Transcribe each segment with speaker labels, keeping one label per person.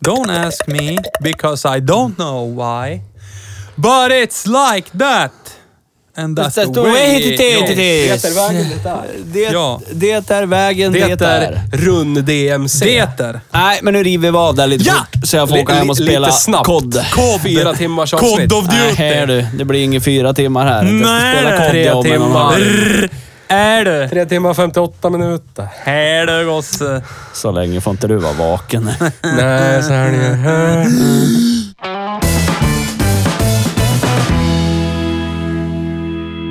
Speaker 1: Don't ask me because I don't know why. But it's like that. And
Speaker 2: Alltså,
Speaker 1: that's, the way it
Speaker 3: Det
Speaker 1: is.
Speaker 3: är vägen det är.
Speaker 2: Det,
Speaker 1: Ja.
Speaker 2: det är vägen det, är.
Speaker 3: Rund-DMC.
Speaker 1: Peter.
Speaker 2: Nej, men nu river vi av där lite
Speaker 3: Ja!
Speaker 2: fort, så jag får åka hem och
Speaker 3: Li- li-
Speaker 2: spela
Speaker 3: lite snabbt.
Speaker 2: kod.
Speaker 3: Kod. Fyra timmars avsnitt.
Speaker 1: Cod of Duty.
Speaker 2: Nej du, det blir inga fyra timmar här. Jag ska
Speaker 1: Nej,
Speaker 2: spela kod
Speaker 1: tre
Speaker 2: jag om en och en
Speaker 1: timmar.
Speaker 2: halv.
Speaker 1: Är du?
Speaker 3: Tre timmar och 58 minuter.
Speaker 1: Är du gosse?
Speaker 2: Så länge får inte du vara vaken.
Speaker 3: Nej, så här är det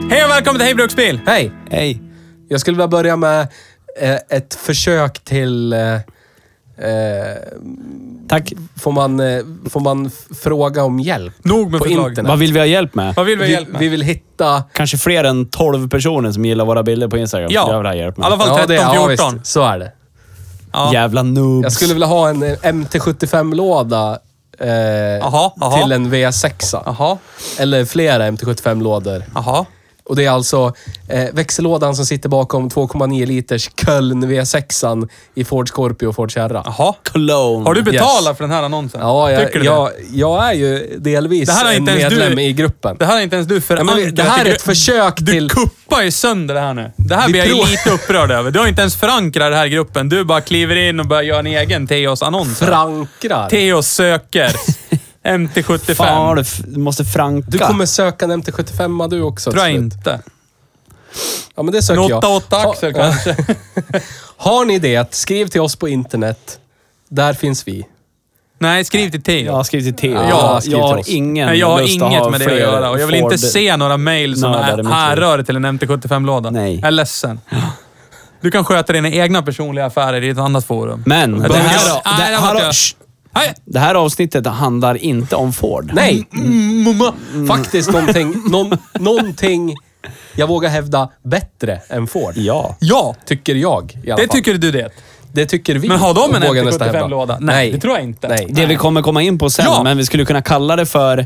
Speaker 1: Hej och välkommen till Hej Bruksbil!
Speaker 3: Hej!
Speaker 2: Hej.
Speaker 3: Jag skulle vilja börja med eh, ett försök till... Eh, eh,
Speaker 2: Tack.
Speaker 3: får, man, eh, får man f- fråga om hjälp?
Speaker 1: Nog med
Speaker 3: På
Speaker 1: förslag.
Speaker 3: internet.
Speaker 2: Vad vill vi ha hjälp med?
Speaker 1: Vad vill vi ha
Speaker 3: Vi,
Speaker 1: hjälp med?
Speaker 3: vi vill hitta...
Speaker 2: Kanske fler än 12 personer som gillar våra bilder på Instagram.
Speaker 1: Ja.
Speaker 2: Jag vill ha hjälp
Speaker 1: I
Speaker 2: med.
Speaker 1: alla fall
Speaker 3: det-
Speaker 1: 13,
Speaker 3: ja,
Speaker 1: 14.
Speaker 3: visst. så är det.
Speaker 1: Ja.
Speaker 2: Jävla noobs.
Speaker 3: Jag skulle vilja ha en eh, MT75-låda eh,
Speaker 1: Aha, aha.
Speaker 3: till en V6.
Speaker 1: Jaha,
Speaker 3: Eller flera MT75-lådor.
Speaker 1: jaha.
Speaker 3: Och det är alltså eh, växellådan som sitter bakom 2,9 liters Köln V6 i Ford Scorpio och Ford Kärra.
Speaker 1: Jaha.
Speaker 2: Cologne.
Speaker 1: Har du betalat
Speaker 3: Yes.
Speaker 1: för den här annonsen?
Speaker 3: Ja,
Speaker 1: Tycker
Speaker 3: jag,
Speaker 1: du
Speaker 3: jag,
Speaker 1: det?
Speaker 3: jag är ju delvis
Speaker 1: Det här är
Speaker 3: en
Speaker 1: inte ens
Speaker 3: medlem
Speaker 1: du-
Speaker 3: i gruppen.
Speaker 1: Det här är inte ens du
Speaker 3: Ja, men vi-
Speaker 1: förankrat.
Speaker 3: det här
Speaker 1: i
Speaker 3: är
Speaker 1: gru-
Speaker 3: ett försök
Speaker 1: Du
Speaker 3: till...
Speaker 1: kuppar ju sönder det här nu. Det här
Speaker 3: Vi
Speaker 1: blir jag ju
Speaker 3: provar-
Speaker 1: lite upprörd över. Du har inte ens förankrat det här i gruppen. Du bara kliver in och börjar göra en egen Teos-annons. här.
Speaker 3: Frankrar.
Speaker 1: Teos söker. MT75.
Speaker 2: Fan, har du, f- du måste franka.
Speaker 3: Du kommer söka en MT75 du också
Speaker 1: Tror jag
Speaker 3: till slut.
Speaker 1: inte.
Speaker 3: Ja, men det
Speaker 1: En
Speaker 3: söker jag.
Speaker 1: 8-8
Speaker 3: Ha-
Speaker 1: axel kanske.
Speaker 3: Har ni det, skriv till oss på internet. Där finns vi.
Speaker 1: Nej, skriv till Teo.
Speaker 2: Jag har skrivit till Theo.
Speaker 3: Ja,
Speaker 2: jag,
Speaker 3: skriv
Speaker 2: jag
Speaker 3: till
Speaker 2: har
Speaker 3: oss.
Speaker 2: ingen
Speaker 1: Nej, jag har
Speaker 2: lust att
Speaker 1: inget
Speaker 2: ha
Speaker 1: med det att
Speaker 2: fler
Speaker 1: göra och jag vill inte
Speaker 2: Ford-
Speaker 1: se några mejl som
Speaker 2: nördar i mitt liv.
Speaker 1: är härrör till en MT75-låda.
Speaker 2: Nej.
Speaker 1: Jag är ledsen. Du kan sköta dina egna personliga affärer i ett annat forum.
Speaker 2: Men
Speaker 1: Jag
Speaker 2: det
Speaker 1: tänker-
Speaker 2: här,
Speaker 1: Nej,
Speaker 2: det,
Speaker 1: det var inte
Speaker 2: här,
Speaker 1: jag.
Speaker 2: shh.
Speaker 1: Nej,
Speaker 2: det här avsnittet handlar inte om Ford.
Speaker 3: Nej!
Speaker 1: Mm,
Speaker 3: Mm. Faktiskt någonting, någon, någonting, jag vågar hävda, bättre än Ford.
Speaker 2: Ja.
Speaker 1: ja,
Speaker 3: Tycker jag i alla
Speaker 1: det
Speaker 3: fall.
Speaker 1: tycker du det.
Speaker 3: det tycker vi.
Speaker 1: Men har de en
Speaker 3: vågar jag nästan hävda.
Speaker 1: MT75-låda? Nej, det tror jag inte.
Speaker 3: Nej.
Speaker 2: Det vi kommer komma in på sen,
Speaker 1: Ja.
Speaker 2: men vi skulle kunna kalla det för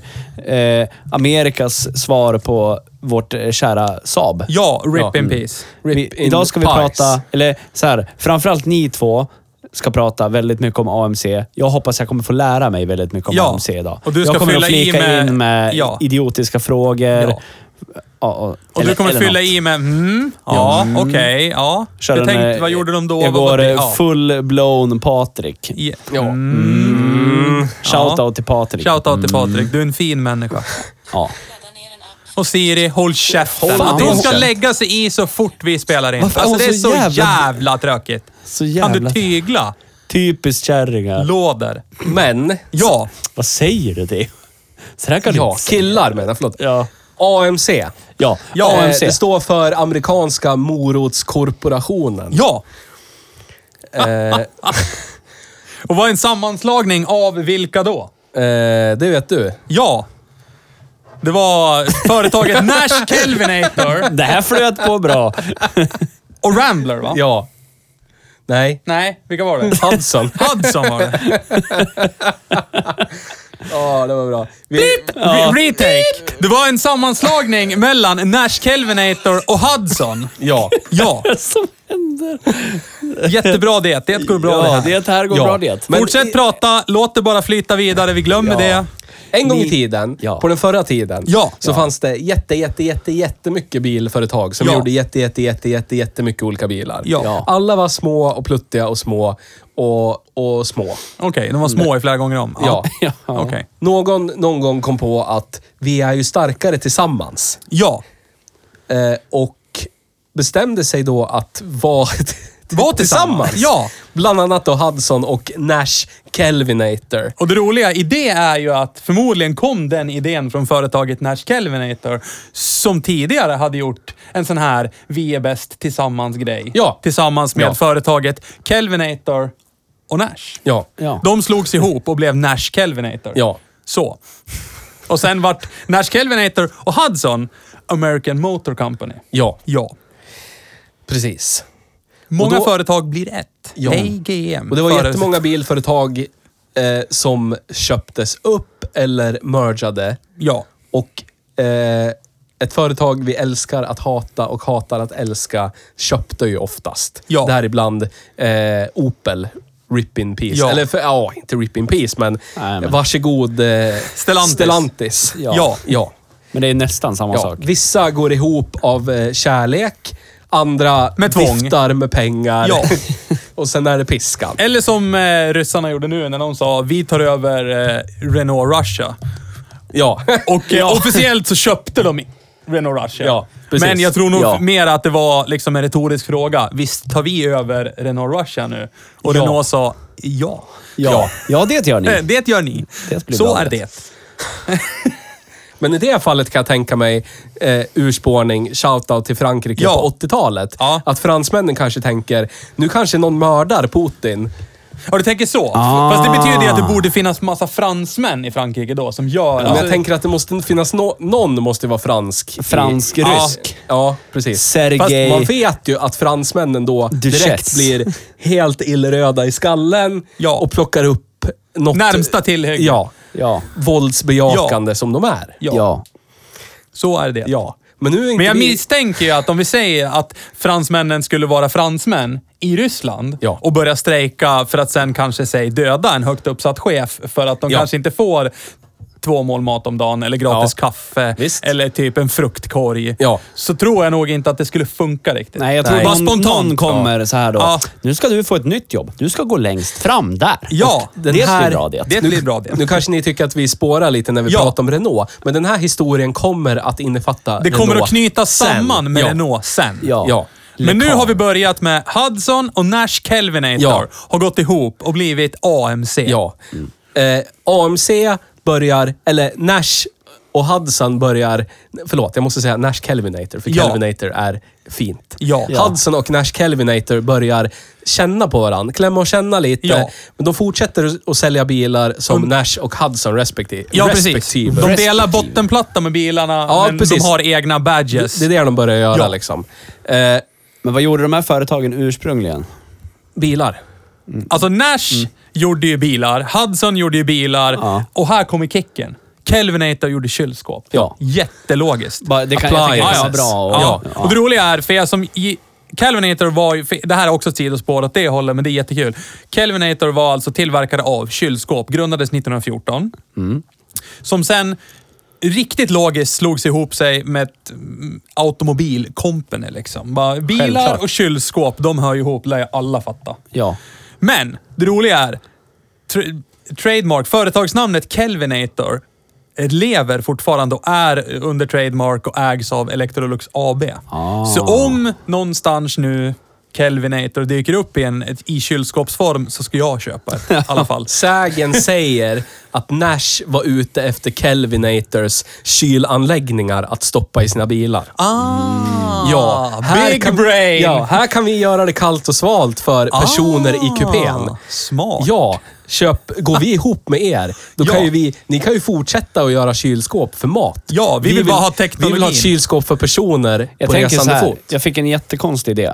Speaker 2: eh, Amerikas svar på vårt eh, kära Saab.
Speaker 1: Ja, rip
Speaker 3: Ja,
Speaker 1: in
Speaker 3: mm.
Speaker 1: peace.
Speaker 3: Rip
Speaker 2: Vi,
Speaker 3: in
Speaker 2: idag ska vi
Speaker 3: pies.
Speaker 2: prata, eller så här, framförallt ni två ska prata väldigt mycket om AMC. Jag hoppas jag kommer få lära mig väldigt mycket om
Speaker 1: Ja,
Speaker 2: AMC idag.
Speaker 1: och du ska
Speaker 2: jag kommer
Speaker 1: fylla
Speaker 2: att
Speaker 1: i
Speaker 2: flika
Speaker 1: med-
Speaker 2: in med
Speaker 1: ja.
Speaker 2: idiotiska frågor.
Speaker 3: Ja.
Speaker 2: Ja, och,
Speaker 1: Och
Speaker 2: eller-
Speaker 1: du kommer
Speaker 2: eller
Speaker 1: fylla
Speaker 2: något.
Speaker 1: i med mm, ja, okej, ja.
Speaker 2: Kör
Speaker 1: jag
Speaker 2: den,
Speaker 1: tänkte,
Speaker 2: eh,
Speaker 1: vad gjorde de då?
Speaker 2: Jag
Speaker 1: Vad var
Speaker 2: går
Speaker 1: det?
Speaker 2: eh, full-blown Patrik.
Speaker 1: Ja.
Speaker 3: Ja.
Speaker 2: Mm. Shoutout
Speaker 1: Ja.
Speaker 2: till Patrik.
Speaker 1: Shoutout till
Speaker 2: Mm.
Speaker 1: Patrik, du är en fin människa.
Speaker 2: Ja.
Speaker 1: Och Siri, håll käften.
Speaker 2: Håll
Speaker 1: att
Speaker 2: din
Speaker 1: hon ska
Speaker 2: käft.
Speaker 1: lägga sig i så fort vi spelar in.
Speaker 2: Varför är
Speaker 1: Alltså
Speaker 2: hon
Speaker 1: det är
Speaker 2: så
Speaker 1: så jävla,
Speaker 2: jävla-
Speaker 1: tråkigt.
Speaker 2: Så
Speaker 1: Kan du
Speaker 2: jävla...
Speaker 1: tygla?
Speaker 2: Typiskt kärringar.
Speaker 1: Låder.
Speaker 3: Men,
Speaker 1: Ja.
Speaker 2: Vad säger du det? Så där kan du
Speaker 3: ja,
Speaker 2: inte säga.
Speaker 3: killar menar jag, förlåt.
Speaker 2: Ja.
Speaker 3: AMC.
Speaker 2: Ja,
Speaker 1: Ja,
Speaker 3: Eh,
Speaker 2: AMC.
Speaker 3: Det står för Amerikanska morotskorporationen.
Speaker 1: Ja.
Speaker 3: Eh,
Speaker 1: Och vad är en sammanslagning av vilka då?
Speaker 3: eh, det vet du.
Speaker 1: Ja. Det var företaget Nash Kelvinator
Speaker 2: Det här flöt på bra.
Speaker 1: och Rambler va?
Speaker 3: Ja. Nej.
Speaker 1: Nej, vilka var det?
Speaker 3: Hudson.
Speaker 1: Hudson var det.
Speaker 3: Ja, det var bra. Vi,
Speaker 1: Re- Retake. Det var en sammanslagning mellan Nash Kelvinator och Hudson.
Speaker 3: Ja.
Speaker 1: Ja.
Speaker 2: Som hände. kilometer.
Speaker 1: Jättebra det. Det går bra
Speaker 2: ja,
Speaker 1: det här.
Speaker 2: det här går
Speaker 1: Ja.
Speaker 2: bra det.
Speaker 3: Men-
Speaker 1: Fortsätt prata, låt det bara flyta vidare. Vi glömmer
Speaker 2: Ja.
Speaker 1: det.
Speaker 3: En gång
Speaker 2: Ni-
Speaker 3: i tiden,
Speaker 2: Ja.
Speaker 3: på den förra tiden,
Speaker 1: Ja.
Speaker 3: så
Speaker 1: Ja.
Speaker 3: fanns det jätte, jätte, jätte, jättemycket bilföretag som
Speaker 1: Ja.
Speaker 3: gjorde jätte, jätte, jätte, jätte, jättemycket olika bilar.
Speaker 1: Ja. Ja.
Speaker 3: Alla var små och pluttiga och små och, och små.
Speaker 1: Okej, de var små i flera gånger om.
Speaker 3: Ja.
Speaker 2: Ja.
Speaker 1: Okej.
Speaker 3: Någon någon gång kom på att vi är ju starkare tillsammans.
Speaker 1: Ja.
Speaker 3: Eh, och bestämde sig då att vara
Speaker 1: Var tillsammans. Ja.
Speaker 3: Bland annat då Hudson och Nash Kelvinator.
Speaker 1: Och det roliga i det är ju att förmodligen kom den idén från företaget Nash Kelvinator som tidigare hade gjort en sån här vi är bäst tillsammans-grej.
Speaker 3: Ja.
Speaker 1: Tillsammans med
Speaker 3: Ja.
Speaker 1: företaget Kelvinator och Nash.
Speaker 3: Ja.
Speaker 2: Ja.
Speaker 1: De slogs ihop och blev Nash Kelvinator.
Speaker 3: Ja.
Speaker 1: Så. Och sen vart Nash Kelvinator och Hudson American Motor Company.
Speaker 3: Ja,
Speaker 1: Ja.
Speaker 3: precis.
Speaker 1: Många
Speaker 3: Och då-
Speaker 1: företag blir ett.
Speaker 3: Ja.
Speaker 1: Hej GM.
Speaker 3: Och det var
Speaker 1: Före-
Speaker 3: jättemånga bilföretag eh, som köptes upp eller mergade.
Speaker 1: Ja.
Speaker 3: Och eh, ett företag vi älskar att hata och hatar att älska köpte ju oftast.
Speaker 1: Ja.
Speaker 3: Däribland eh, Opel. Rip in peace.
Speaker 1: Ja.
Speaker 3: Eller för, ja, inte rip in peace, men,
Speaker 2: Nej, men-
Speaker 3: varsågod eh,
Speaker 1: Stellantis.
Speaker 3: Stellantis.
Speaker 2: Ja.
Speaker 1: Ja.
Speaker 3: ja.
Speaker 2: Men det är nästan samma
Speaker 3: ja.
Speaker 2: sak.
Speaker 3: Vissa går ihop av eh, kärlek, andra
Speaker 1: Med tvång.
Speaker 3: viftar med pengar.
Speaker 1: Ja.
Speaker 3: och sen är det piskan.
Speaker 1: Eller som eh, ryssarna gjorde nu när de sa vi tar över eh, Renault Russia.
Speaker 3: Ja.
Speaker 1: Och eh, officiellt så köpte de Renault Russia.
Speaker 3: Ja, precis.
Speaker 1: Men jag tror nog
Speaker 2: Ja.
Speaker 1: mer att det var liksom en retorisk fråga. Visst tar vi över Renault Russia nu? Och
Speaker 3: Ja.
Speaker 1: Renault sa ja.
Speaker 2: Ja. ja, det gör
Speaker 1: Eh,
Speaker 2: ni.
Speaker 1: Det gör ni.
Speaker 2: Det blir
Speaker 1: så
Speaker 2: bra
Speaker 1: är
Speaker 2: det.
Speaker 1: det.
Speaker 3: Men i det fallet kan jag tänka mig eh, urspårning, shoutout till Frankrike
Speaker 1: Ja.
Speaker 3: på 80-talet.
Speaker 1: Ja.
Speaker 3: Att fransmännen kanske tänker, nu kanske någon mördar Putin.
Speaker 1: Ja, du tänker så.
Speaker 2: Ah.
Speaker 1: Fast det betyder ju att det borde finnas massa fransmän i Frankrike då som gör...
Speaker 3: Men jag tänker att det måste finnas no någon måste vara fransk. i-
Speaker 2: Fransk-rysk.
Speaker 3: Ja, ja, precis. Fast
Speaker 2: Sergej-
Speaker 3: man vet ju att fransmännen då
Speaker 2: Duchess.
Speaker 3: direkt blir helt illröda i skallen
Speaker 1: Ja.
Speaker 3: och plockar upp något...
Speaker 1: Närmsta tillhygge.
Speaker 3: Ja.
Speaker 2: Ja.
Speaker 3: Våldsbejakande som de är.
Speaker 1: Ja.
Speaker 2: Ja.
Speaker 1: Så är det.
Speaker 3: Ja. Men nu är inte
Speaker 1: Men jag
Speaker 3: vi...
Speaker 1: misstänker ju att om vi säger att fransmännen skulle vara fransmän i Ryssland
Speaker 3: Ja.
Speaker 1: och börja strejka för att sen kanske säg döda en högt uppsatt chef för att de
Speaker 3: Ja.
Speaker 1: kanske inte får två mål mat om dagen eller gratis
Speaker 3: Ja.
Speaker 1: kaffe
Speaker 3: Visst.
Speaker 1: eller typ en fruktkorg.
Speaker 3: Ja.
Speaker 1: Så tror jag nog inte att det skulle funka riktigt.
Speaker 2: Nej, jag tror
Speaker 1: Bara
Speaker 2: någon,
Speaker 1: spontant.
Speaker 2: någon kommer så här då.
Speaker 1: Ja.
Speaker 2: Nu ska du få ett nytt jobb. Du ska gå längst fram där.
Speaker 1: Ja,
Speaker 2: det
Speaker 3: den
Speaker 2: blir
Speaker 3: här-
Speaker 2: bra det.
Speaker 1: Det blir bra det.
Speaker 3: Nu kanske ni tycker att vi spårar lite när vi
Speaker 1: Ja.
Speaker 3: pratar om Renault, men den här historien kommer att innefatta
Speaker 1: Det kommer
Speaker 3: Renault
Speaker 1: att knytas
Speaker 3: sen.
Speaker 1: samman med
Speaker 3: ja.
Speaker 1: Renault sen.
Speaker 2: Ja.
Speaker 3: Ja.
Speaker 1: Men nu
Speaker 2: Lekan.
Speaker 1: har vi börjat med Hudson och Nash Kelvinator
Speaker 3: Ja.
Speaker 1: har gått ihop och blivit AMC.
Speaker 3: Ja. Eh, AMC börjar, eller Nash och Hudson börjar... Förlåt, jag måste säga Nash Kelvinator, för
Speaker 1: Ja.
Speaker 3: Kelvinator är fint.
Speaker 1: Ja.
Speaker 2: Ja.
Speaker 3: Hudson och Nash Kelvinator börjar känna på varandra, klämma och känna lite.
Speaker 1: Ja. Mm.
Speaker 3: Men de fortsätter att sälja bilar som Nash och Hudson respektive.
Speaker 1: Ja, precis.
Speaker 3: respektive.
Speaker 1: De
Speaker 2: Respektive.
Speaker 1: delar bottenplatta med bilarna,
Speaker 3: Ja,
Speaker 1: men
Speaker 3: precis.
Speaker 1: de har egna badges.
Speaker 3: Det är det de börjar göra
Speaker 1: Ja.
Speaker 3: liksom. Eh,
Speaker 2: Men vad gjorde de här företagen ursprungligen?
Speaker 3: bilar.
Speaker 2: Mm.
Speaker 1: Alltså Nash gjorde ju bilar, Hudson gjorde ju bilar
Speaker 2: Ja.
Speaker 1: och här kommer kicken. Kelvinator gjorde kylskåp.
Speaker 3: Ja.
Speaker 1: Jättelogiskt.
Speaker 2: Bara- det kan- jag tänker att det var
Speaker 1: Appliances.
Speaker 2: bra och-
Speaker 1: ja.
Speaker 2: ja.
Speaker 1: och det roliga är, för jag som... i- Kelvinator var ju... för- Det här är också ett sidospår åt det hållet, men det är jättekul. Kelvinator var alltså tillverkare av kylskåp, grundades 1914.
Speaker 2: Mm.
Speaker 1: Som sen riktigt logiskt slogs ihop sig med ett mm, automobilcompany liksom. Bara, bilar
Speaker 2: Självklart.
Speaker 1: och kylskåp, de hör ju ihop, lär ju alla fatta.
Speaker 2: Ja.
Speaker 1: Men det roliga är, tr- trademark, företagsnamnet Kelvinator eh, lever fortfarande och är under trademark och ägs av Electrolux AB.
Speaker 2: Ah.
Speaker 1: Så om någonstans nu Kelvinator dyker upp i, en, ett, i kylskåpsform så ska jag köpa ett i alla fall.
Speaker 3: Sägen säger att Nash var ute efter Kelvinators kylanläggningar att stoppa i sina bilar.
Speaker 1: Ah,
Speaker 3: Ja,
Speaker 1: big
Speaker 3: kan,
Speaker 1: brain!
Speaker 3: Ja, här kan vi göra det kallt och svalt för personer i kupén.
Speaker 1: Ah, Smart.
Speaker 3: Ja, köp, går vi ihop med er, då
Speaker 1: Ja.
Speaker 3: kan ju vi, ni kan ju fortsätta att göra kylskåp för mat.
Speaker 1: Ja, vi vill bara ha teknologin.
Speaker 3: Vi vill ha ett kylskåp för personer
Speaker 2: Jag
Speaker 3: på
Speaker 2: tänker så
Speaker 3: resande
Speaker 2: här,
Speaker 3: fot.
Speaker 2: jag fick en jättekonstig idé.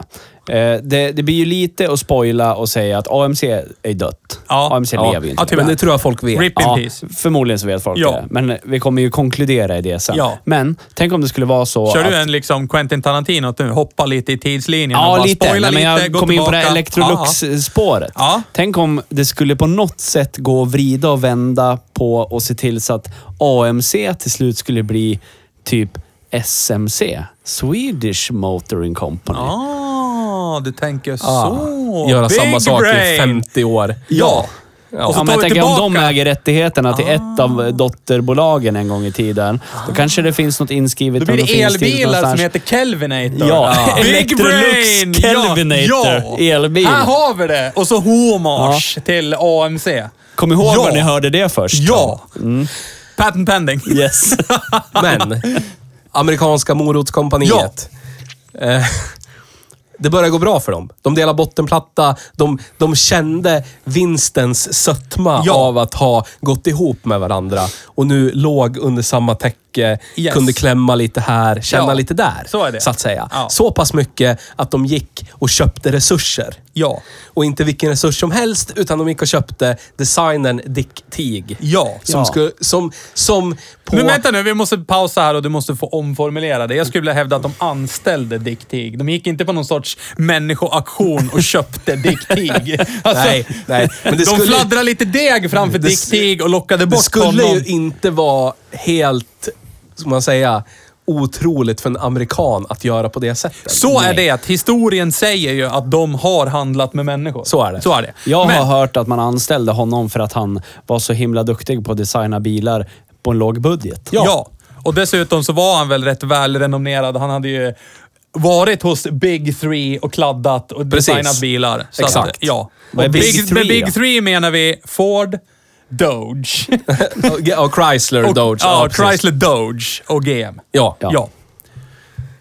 Speaker 2: Eh, det, det blir ju lite att spoila och säga att AMC är dött.
Speaker 1: Ja.
Speaker 2: AMC
Speaker 1: Ja.
Speaker 2: lever ju inte.
Speaker 1: Ja, typ.
Speaker 3: Men det tror jag folk vet.
Speaker 1: RIP in
Speaker 2: Ja,
Speaker 1: peace.
Speaker 2: förmodligen så vet folk
Speaker 1: Ja.
Speaker 2: det. Men vi kommer ju konkludera i det sen.
Speaker 1: Ja.
Speaker 2: Men tänk om det skulle vara så
Speaker 1: Kör
Speaker 2: att...
Speaker 1: du en liksom Quentin Tarantino, att du hoppar lite i tidslinjen och
Speaker 2: Ja,
Speaker 1: bara
Speaker 2: lite.
Speaker 1: spoilar
Speaker 2: Nej, men
Speaker 1: lite,
Speaker 2: jag
Speaker 1: gå
Speaker 2: kom in på det här
Speaker 1: tillbaka. Ja,
Speaker 2: Electrolux-spåret.
Speaker 1: Ja.
Speaker 2: Tänk om det skulle på något sätt gå att vrida och vända på och se till så att AMC till slut skulle bli typ SMC. Swedish Motoring Company.
Speaker 1: ja. Ah, du tänker
Speaker 2: Ah,
Speaker 1: så.
Speaker 3: Göra
Speaker 1: Big
Speaker 3: samma sak i
Speaker 1: brain.
Speaker 3: 50 år.
Speaker 1: Ja.
Speaker 3: Ja.
Speaker 1: Och så
Speaker 2: Ja, men
Speaker 1: tar
Speaker 2: jag
Speaker 1: vi
Speaker 2: tänker om de
Speaker 1: tillbaka. Ah.
Speaker 2: äger rättigheterna till ett av dotterbolagen en gång i tiden, då kanske det finns något inskrivet.
Speaker 1: Då blir
Speaker 2: om
Speaker 1: det
Speaker 2: finns till
Speaker 1: elbilar som
Speaker 2: någonstans.
Speaker 1: heter Kelvinator.
Speaker 2: Ja,
Speaker 1: Big
Speaker 2: Electrolux
Speaker 1: brain!
Speaker 2: Kelvinator. Elbil.
Speaker 1: Här har vi det! Och så hommage till AMC.
Speaker 2: Kom Mm. ihåg
Speaker 1: Ja.
Speaker 2: var ni hörde det först.
Speaker 1: Ja! Patent pending.
Speaker 2: Yes.
Speaker 3: Men, amerikanska morotskompaniet. Eh, det börjar gå bra för dem. De delar bottenplatta. De, de kände vinstens sötma
Speaker 1: Ja.
Speaker 3: av att ha gått ihop med varandra. Och nu låg under samma täcke,
Speaker 1: Yes.
Speaker 3: kunde klämma lite här, känna
Speaker 1: Ja.
Speaker 3: lite där.
Speaker 1: Så är det.
Speaker 3: Så att säga.
Speaker 1: Ja.
Speaker 3: Så pass mycket att de gick och köpte resurser.
Speaker 1: Ja.
Speaker 3: Och inte vilken resurs som helst, utan de gick och köpte designern Dick Tig.
Speaker 1: Ja.
Speaker 3: Som,
Speaker 2: Ja.
Speaker 3: skulle, som, som på...
Speaker 1: Men vänta nu, vi måste pausa här och du måste få omformulera det. Jag skulle vilja hävda att de anställde Dick Tig. De gick inte på någon sorts människoaktion och köpte Dick Tig. Alltså,
Speaker 3: nej, nej. Men det
Speaker 1: de
Speaker 3: skulle,
Speaker 1: fladdrade lite deg framför
Speaker 3: Det
Speaker 1: Dick
Speaker 3: s-
Speaker 1: Tig och lockade
Speaker 3: det
Speaker 1: bort
Speaker 3: skulle
Speaker 1: honom.
Speaker 3: ju inte vara helt, som man säga, otroligt för en amerikan att göra på det sättet.
Speaker 1: Så är det. Historien säger ju att de har handlat med människor.
Speaker 3: Så är det.
Speaker 1: Så är det.
Speaker 2: Jag
Speaker 1: Men-
Speaker 2: har hört att man anställde honom för att han var så himla duktig på att designa bilar på en låg budget.
Speaker 1: Ja. Och dessutom så var han väl rätt välrenommerad. Han hade ju varit hos Big Three och kladdat och
Speaker 3: Precis.
Speaker 1: designat bilar. Så
Speaker 3: Exakt.
Speaker 1: Att, ja.
Speaker 2: Vad är
Speaker 1: Och
Speaker 2: Big
Speaker 1: Big,
Speaker 2: Three
Speaker 1: med Big
Speaker 2: då?
Speaker 1: Three menar vi Ford, Doge.
Speaker 3: Och, och Chrysler
Speaker 1: och,
Speaker 3: Dodge.
Speaker 1: Ja,
Speaker 3: precis.
Speaker 1: Chrysler Doge och GM.
Speaker 3: Ja.
Speaker 1: Ja.
Speaker 3: ja.
Speaker 1: ja.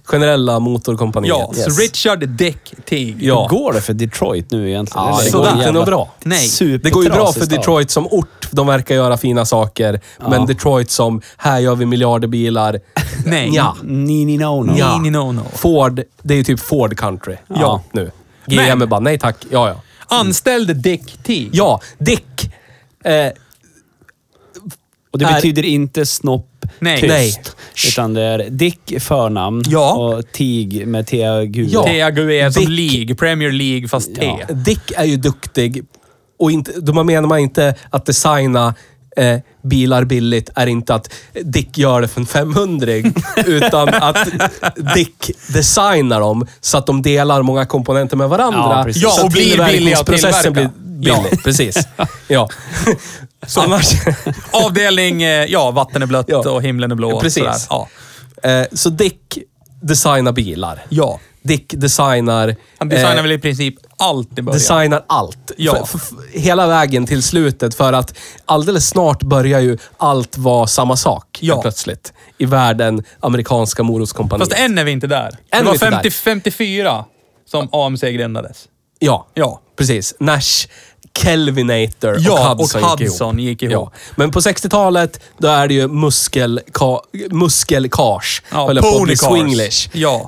Speaker 3: Generella motorkompaniet.
Speaker 1: Så Richard Dick Tig.
Speaker 3: Ja.
Speaker 2: Hur går det för Detroit nu egentligen?
Speaker 3: Ja,
Speaker 2: Eller
Speaker 3: det
Speaker 1: Så
Speaker 3: går
Speaker 1: där.
Speaker 2: en
Speaker 3: inte
Speaker 2: jävla
Speaker 3: något bra.
Speaker 1: Nej.
Speaker 2: supertrasig
Speaker 3: Det går ju bra för
Speaker 2: stad.
Speaker 3: Detroit som ort. De verkar göra fina saker. Men Detroit som, här gör vi miljarder bilar.
Speaker 1: Nej.
Speaker 3: Ja.
Speaker 2: Ni, ni, no, no.
Speaker 1: Ja. Ni, no, no.
Speaker 3: Ford, det är ju typ Ford country.
Speaker 2: Ja.
Speaker 3: Nu. GM är
Speaker 1: Men-
Speaker 3: bara, nej tack. Ja, ja.
Speaker 1: Anställde Dick Tig.
Speaker 3: Ja, Dick. Eh,
Speaker 2: Och det
Speaker 3: Är-
Speaker 2: betyder inte snopp
Speaker 1: Nej.
Speaker 2: tyst.
Speaker 3: Nej.
Speaker 2: Utan det är Dick förnamn
Speaker 1: Ja.
Speaker 2: och Tig med T-G.
Speaker 3: Ja.
Speaker 1: TAGUE E som
Speaker 3: Dick-
Speaker 1: League. Premier League fast T.
Speaker 2: Ja.
Speaker 3: Dick är ju duktig. Och inte, då man menar man inte att designa eh, bilar billigt är inte att Dick gör det för en 500 utan att Dick designar dem så att de delar många komponenter med varandra.
Speaker 2: Ja, precis.
Speaker 3: så
Speaker 1: Ja,
Speaker 3: att
Speaker 1: och blir billiga att
Speaker 3: tillverkningsprocessen blir
Speaker 1: tillverka.
Speaker 3: billig. Precis. Ja.
Speaker 1: Så-
Speaker 3: Annars...
Speaker 1: Avdelning, eh, ja, vatten är blött
Speaker 3: Ja.
Speaker 1: och himlen är blå. och
Speaker 3: Precis.
Speaker 1: sådär. Ja.
Speaker 3: eh, så Dick designar bilar.
Speaker 1: ja.
Speaker 3: Dick designar...
Speaker 1: Han designar
Speaker 3: eh,
Speaker 1: väl i princip allt i början.
Speaker 3: designar allt.
Speaker 1: Ja.
Speaker 3: F- f- f- hela vägen till slutet för att alldeles snart börjar ju allt vara samma sak
Speaker 1: Ja.
Speaker 3: helt plötsligt. I världen, amerikanska morotskompaniet.
Speaker 1: Fast än är vi inte där.
Speaker 3: är
Speaker 1: det
Speaker 3: vi
Speaker 1: var
Speaker 3: inte
Speaker 1: 50,
Speaker 3: där.
Speaker 1: 54 som AMC grundades.
Speaker 3: Ja,
Speaker 1: Ja.
Speaker 3: precis. Nash, Kelvinator
Speaker 1: Ja,
Speaker 3: och Hudson,
Speaker 1: och Hudson gick ihop.
Speaker 3: Ja. Men på 60-talet, då är det ju muskelka, muskelkars.
Speaker 1: Ja,
Speaker 3: Höll jag på att bli
Speaker 1: ponycars.
Speaker 3: swinglish.
Speaker 1: Ja.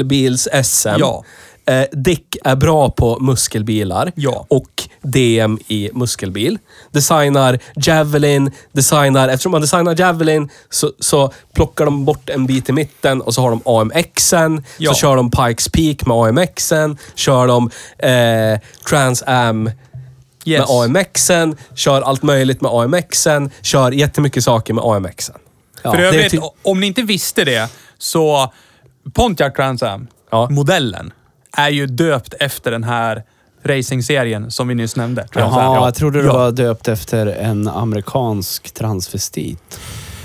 Speaker 3: Muskelbils-SM.
Speaker 1: Ja.
Speaker 3: Eh, Dick är bra på muskelbilar
Speaker 1: Ja.
Speaker 3: och DM i muskelbil. Designar Javelin, designar... Eftersom man designar Javelin så, så plockar de bort en bit i mitten och så har de AMXen.
Speaker 1: Ja.
Speaker 3: Så kör de Pikes Peak med AMXen. Kör de eh, Trans Am
Speaker 1: Yes.
Speaker 3: med AMXen. Kör allt möjligt med AMXen. Kör jättemycket saker med AMXen. Ja,
Speaker 1: För
Speaker 3: det är
Speaker 1: övrigt,
Speaker 3: ty-
Speaker 1: om ni inte visste det, så Pontiac Grand Am,
Speaker 3: Ja.
Speaker 1: modellen, är ju döpt efter den här racingserien som vi nyss nämnde. Grand Am.
Speaker 2: Jaha, jag trodde det var döpt efter en amerikansk transvestit.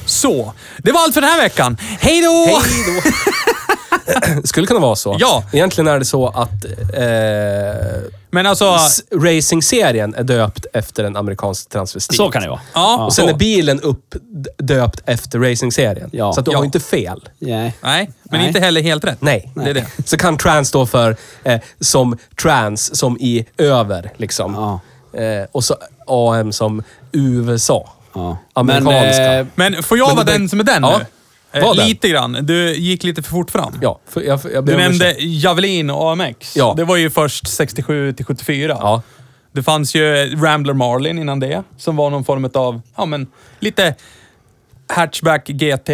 Speaker 1: Så, det var allt för den här veckan. Hej då!
Speaker 3: skulle kunna vara så.
Speaker 1: Ja.
Speaker 3: Egentligen är det så att eh,
Speaker 1: Men alltså...
Speaker 3: s- racing-serien är döpt efter en amerikansk transvestit.
Speaker 2: Så kan det vara.
Speaker 1: Ja,
Speaker 3: Och sen
Speaker 1: så.
Speaker 3: är bilen uppdöpt efter racing-serien.
Speaker 2: Ja.
Speaker 3: Så att du
Speaker 1: Ja.
Speaker 3: har ju inte fel.
Speaker 2: Nej.
Speaker 1: Nej, men
Speaker 2: Nej.
Speaker 1: inte heller helt rätt.
Speaker 3: Nej.
Speaker 1: Det är det.
Speaker 3: Så kan trans stå för eh, som trans, som i över liksom. Eh, och så AM som USA.
Speaker 2: Ja.
Speaker 3: Amerikanska.
Speaker 2: Men, eh,
Speaker 1: Men eh, får jag
Speaker 3: Men
Speaker 1: vara
Speaker 3: det-
Speaker 1: den som är den
Speaker 3: Ja.
Speaker 1: nu? Eh,
Speaker 3: Var den?
Speaker 1: lite grann. Du gick lite för fort fram.
Speaker 3: Ja, för jag, jag ber
Speaker 1: Du
Speaker 3: om
Speaker 1: nämnde
Speaker 3: ursäkt.
Speaker 1: Javelin och AMX.
Speaker 3: Ja.
Speaker 1: Det var ju först 67 till 74.
Speaker 3: Ja.
Speaker 1: Det fanns ju Rambler Marlin innan det, som var någon form av, ja men, lite hatchback GT.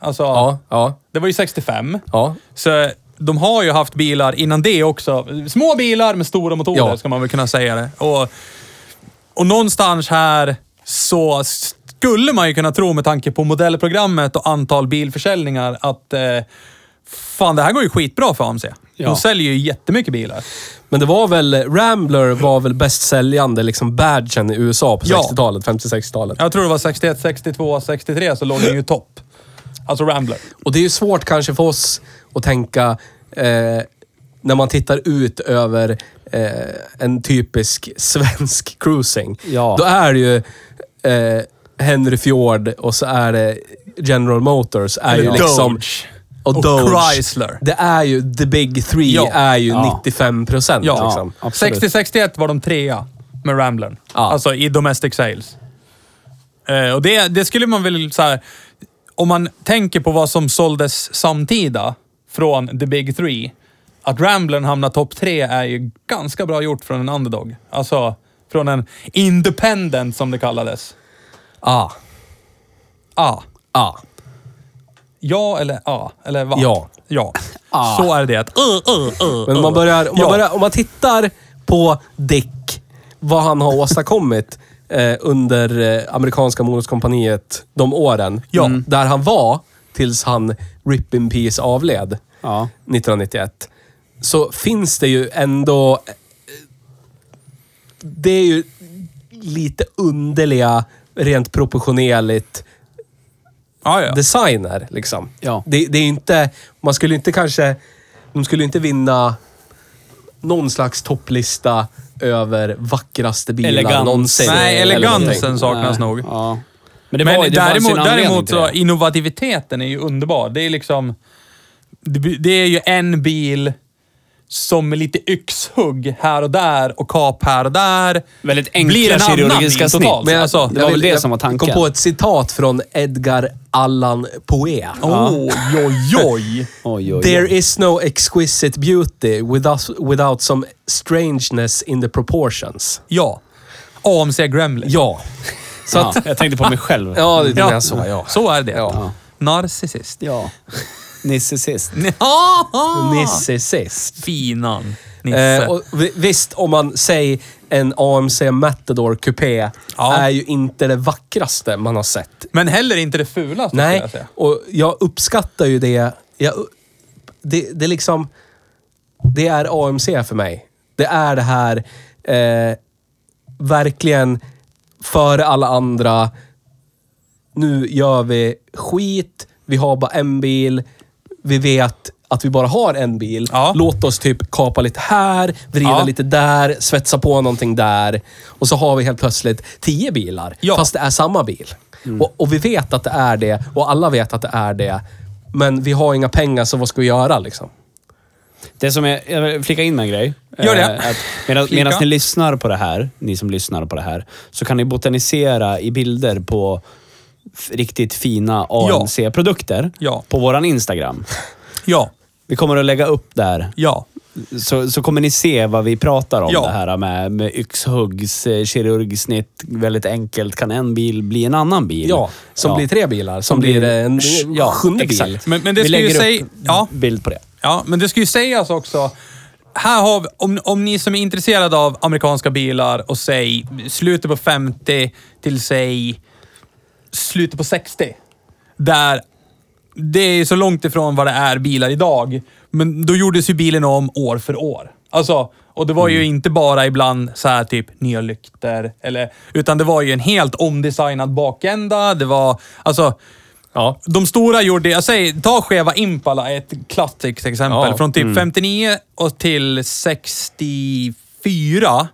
Speaker 1: Alltså,
Speaker 3: Ja, ja,
Speaker 1: det var ju 65.
Speaker 3: ja.
Speaker 1: Så eh, de har ju haft bilar innan det också. Små bilar med stora motorer,
Speaker 3: Ja.
Speaker 1: ska man väl kunna säga det. Och, och någonstans här så skulle man ju kunna tro, med tanke på modellprogrammet och antal bilförsäljningar, att eh, fan, det här går ju skitbra för AMC.
Speaker 2: Ja.
Speaker 1: De säljer ju jättemycket bilar.
Speaker 3: Men det var väl, Rambler var väl bäst säljande liksom badgen i USA på
Speaker 1: Ja.
Speaker 3: 60-talet, 50-60-talet.
Speaker 1: Jag tror det var 61, 62, 63 så låg den ju i topp. Alltså Rambler.
Speaker 3: Och det är ju svårt kanske för oss att tänka eh, när man tittar ut över eh, en typisk svensk cruising.
Speaker 2: Ja.
Speaker 3: Då är det ju eh, Henry Fjord och så är det General Motors. Är ju
Speaker 1: Eller
Speaker 3: liksom,
Speaker 1: Dodge.
Speaker 3: Och,
Speaker 1: Och
Speaker 3: Doge.
Speaker 1: Chrysler.
Speaker 3: Det är ju the big three
Speaker 1: Ja.
Speaker 3: är ju
Speaker 2: Ja.
Speaker 3: 95 procent.
Speaker 1: Ja,
Speaker 3: liksom.
Speaker 2: absolut.
Speaker 1: 60-61 var de trea med Ramblern.
Speaker 3: Ja.
Speaker 1: Alltså i domestic sales. Eh, och det, det skulle man väl så här, Om man tänker på vad som såldes samtida från the big three. Att Ramblern hamnar topp tre är ju ganska bra gjort från en underdog. Alltså från en independent som det kallades.
Speaker 3: Ah,
Speaker 1: Ah.
Speaker 3: ah.
Speaker 1: Ja eller ja, eller vad?
Speaker 3: Ja.
Speaker 1: Ja. Så är det. Uh, uh, uh,
Speaker 3: Men om man,
Speaker 1: uh.
Speaker 3: börjar, om, man
Speaker 1: Ja.
Speaker 3: börjar, om man tittar på Dick, vad han har åstadkommit eh, under eh, amerikanska motorskompaniet de åren.
Speaker 1: Ja.
Speaker 3: Mm. Där han var tills han RIP in Peace avled
Speaker 2: Ja.
Speaker 3: 1991. Så finns det ju ändå... eh, Det är ju lite underliga, rent proportionerligt,
Speaker 1: Ja, ja.
Speaker 3: designer. Liksom.
Speaker 2: Ja.
Speaker 3: Det, det är ju inte... Man skulle inte kanske... De skulle inte vinna någon slags topplista över vackraste bilar
Speaker 2: Elegans.
Speaker 3: någonsin.
Speaker 1: Nej,
Speaker 3: eller någonting.
Speaker 1: elegansen saknas
Speaker 2: Nej.
Speaker 1: nog.
Speaker 2: Ja. Men det
Speaker 1: Men
Speaker 2: var, det
Speaker 1: däremot,
Speaker 2: var sin anledning
Speaker 1: däremot
Speaker 2: till
Speaker 1: så
Speaker 2: det.
Speaker 1: innovativiteten är ju underbar. Det är liksom... Det, by- det är ju en bil som med lite yxhugg här och där och kap här och där.
Speaker 2: Väldigt
Speaker 1: blir
Speaker 2: enkla
Speaker 1: en annan
Speaker 2: kirurgiska
Speaker 1: bil
Speaker 2: snitt.
Speaker 1: totalt.
Speaker 2: Men jag-
Speaker 1: Alltså,
Speaker 2: det var
Speaker 3: jag
Speaker 2: väl
Speaker 3: vill-
Speaker 2: det som var tanken.
Speaker 3: Jag kom på ett citat från Edgar Allan Poe.
Speaker 1: Oj, Alltså, oj, oj.
Speaker 2: Oh. Oj, oj,
Speaker 3: There
Speaker 2: oj.
Speaker 3: is no exquisite beauty without, without some strangeness in the proportions.
Speaker 1: Ja. AMC Gremlin.
Speaker 3: Ja. Så
Speaker 2: Ja,
Speaker 3: att...
Speaker 2: jag tänkte på mig själv.
Speaker 3: Ja, det är jag sa, ja.
Speaker 1: Så är det.
Speaker 3: Ja.
Speaker 1: Narcissist.
Speaker 2: ja. Nisse sist.
Speaker 1: Ja.
Speaker 3: Nissesist.
Speaker 1: Finan. Nisse.
Speaker 3: Eh, och vi- visst, om man säger en AMC Matador Coupé
Speaker 1: Ja.
Speaker 3: är ju inte det vackraste man har sett.
Speaker 1: Men heller inte det fulaste skulle
Speaker 3: Nej,
Speaker 1: jag säga.
Speaker 3: och jag uppskattar ju det. Jag, det, det är liksom... Det är AMC för mig. Det är det här eh, verkligen före alla andra. Nu gör vi skit. Vi har bara en bil. Vi vet att vi bara har en bil.
Speaker 1: Ja.
Speaker 3: Låt oss typ kapa lite här, vrida
Speaker 1: Ja.
Speaker 3: lite där, svetsa på någonting där. Och så har vi helt plötsligt tio bilar.
Speaker 1: Ja.
Speaker 3: Fast det är samma bil. Och, och vi vet att det är det och alla vet att det är det. Men vi har inga pengar, så vad ska vi göra liksom?
Speaker 2: Det som är, jag vill flika in en grej.
Speaker 1: Gör det.
Speaker 2: Eh, att medan,
Speaker 1: Flika.
Speaker 2: medan ni lyssnar på det här, ni som lyssnar på det här, så kan ni botanisera i bilder på f- riktigt fina ANC-produkter
Speaker 1: Ja.
Speaker 2: på våran Instagram.
Speaker 1: Ja.
Speaker 2: Vi kommer att lägga upp där,
Speaker 1: Ja.
Speaker 2: så, så kommer ni se vad vi pratar om
Speaker 1: Ja.
Speaker 2: det här med, med yxhuggs, eh, kirurgsnitt. Väldigt enkelt kan en bil bli en annan bil.
Speaker 3: Ja, som
Speaker 2: Ja.
Speaker 3: blir tre bilar. Som blir en
Speaker 2: ja,
Speaker 3: sjunde
Speaker 2: exakt.
Speaker 3: bil.
Speaker 1: Men- men det
Speaker 2: vi
Speaker 1: ska ju
Speaker 2: lägger
Speaker 1: säga-
Speaker 2: upp
Speaker 1: ja.
Speaker 2: bild på det.
Speaker 1: Ja, men det ska ju sägas också. Här har vi, om, om ni som är intresserade av amerikanska bilar och säg slutet på 50 till säg slutet på 60. Där det är så långt ifrån vad det är bilar idag. Men då gjordes ju bilen om år för år. Alltså, och det var ju
Speaker 3: Mm.
Speaker 1: inte bara ibland så här typ nya lykter eller... Utan det var ju en helt omdesignad bakända. Det var... Alltså...
Speaker 3: Ja.
Speaker 1: De stora gjorde, jag säger, ta Cheva Impala, ett klassiskt exempel.
Speaker 3: Ja, Mm.
Speaker 1: Från typ 59 och till 64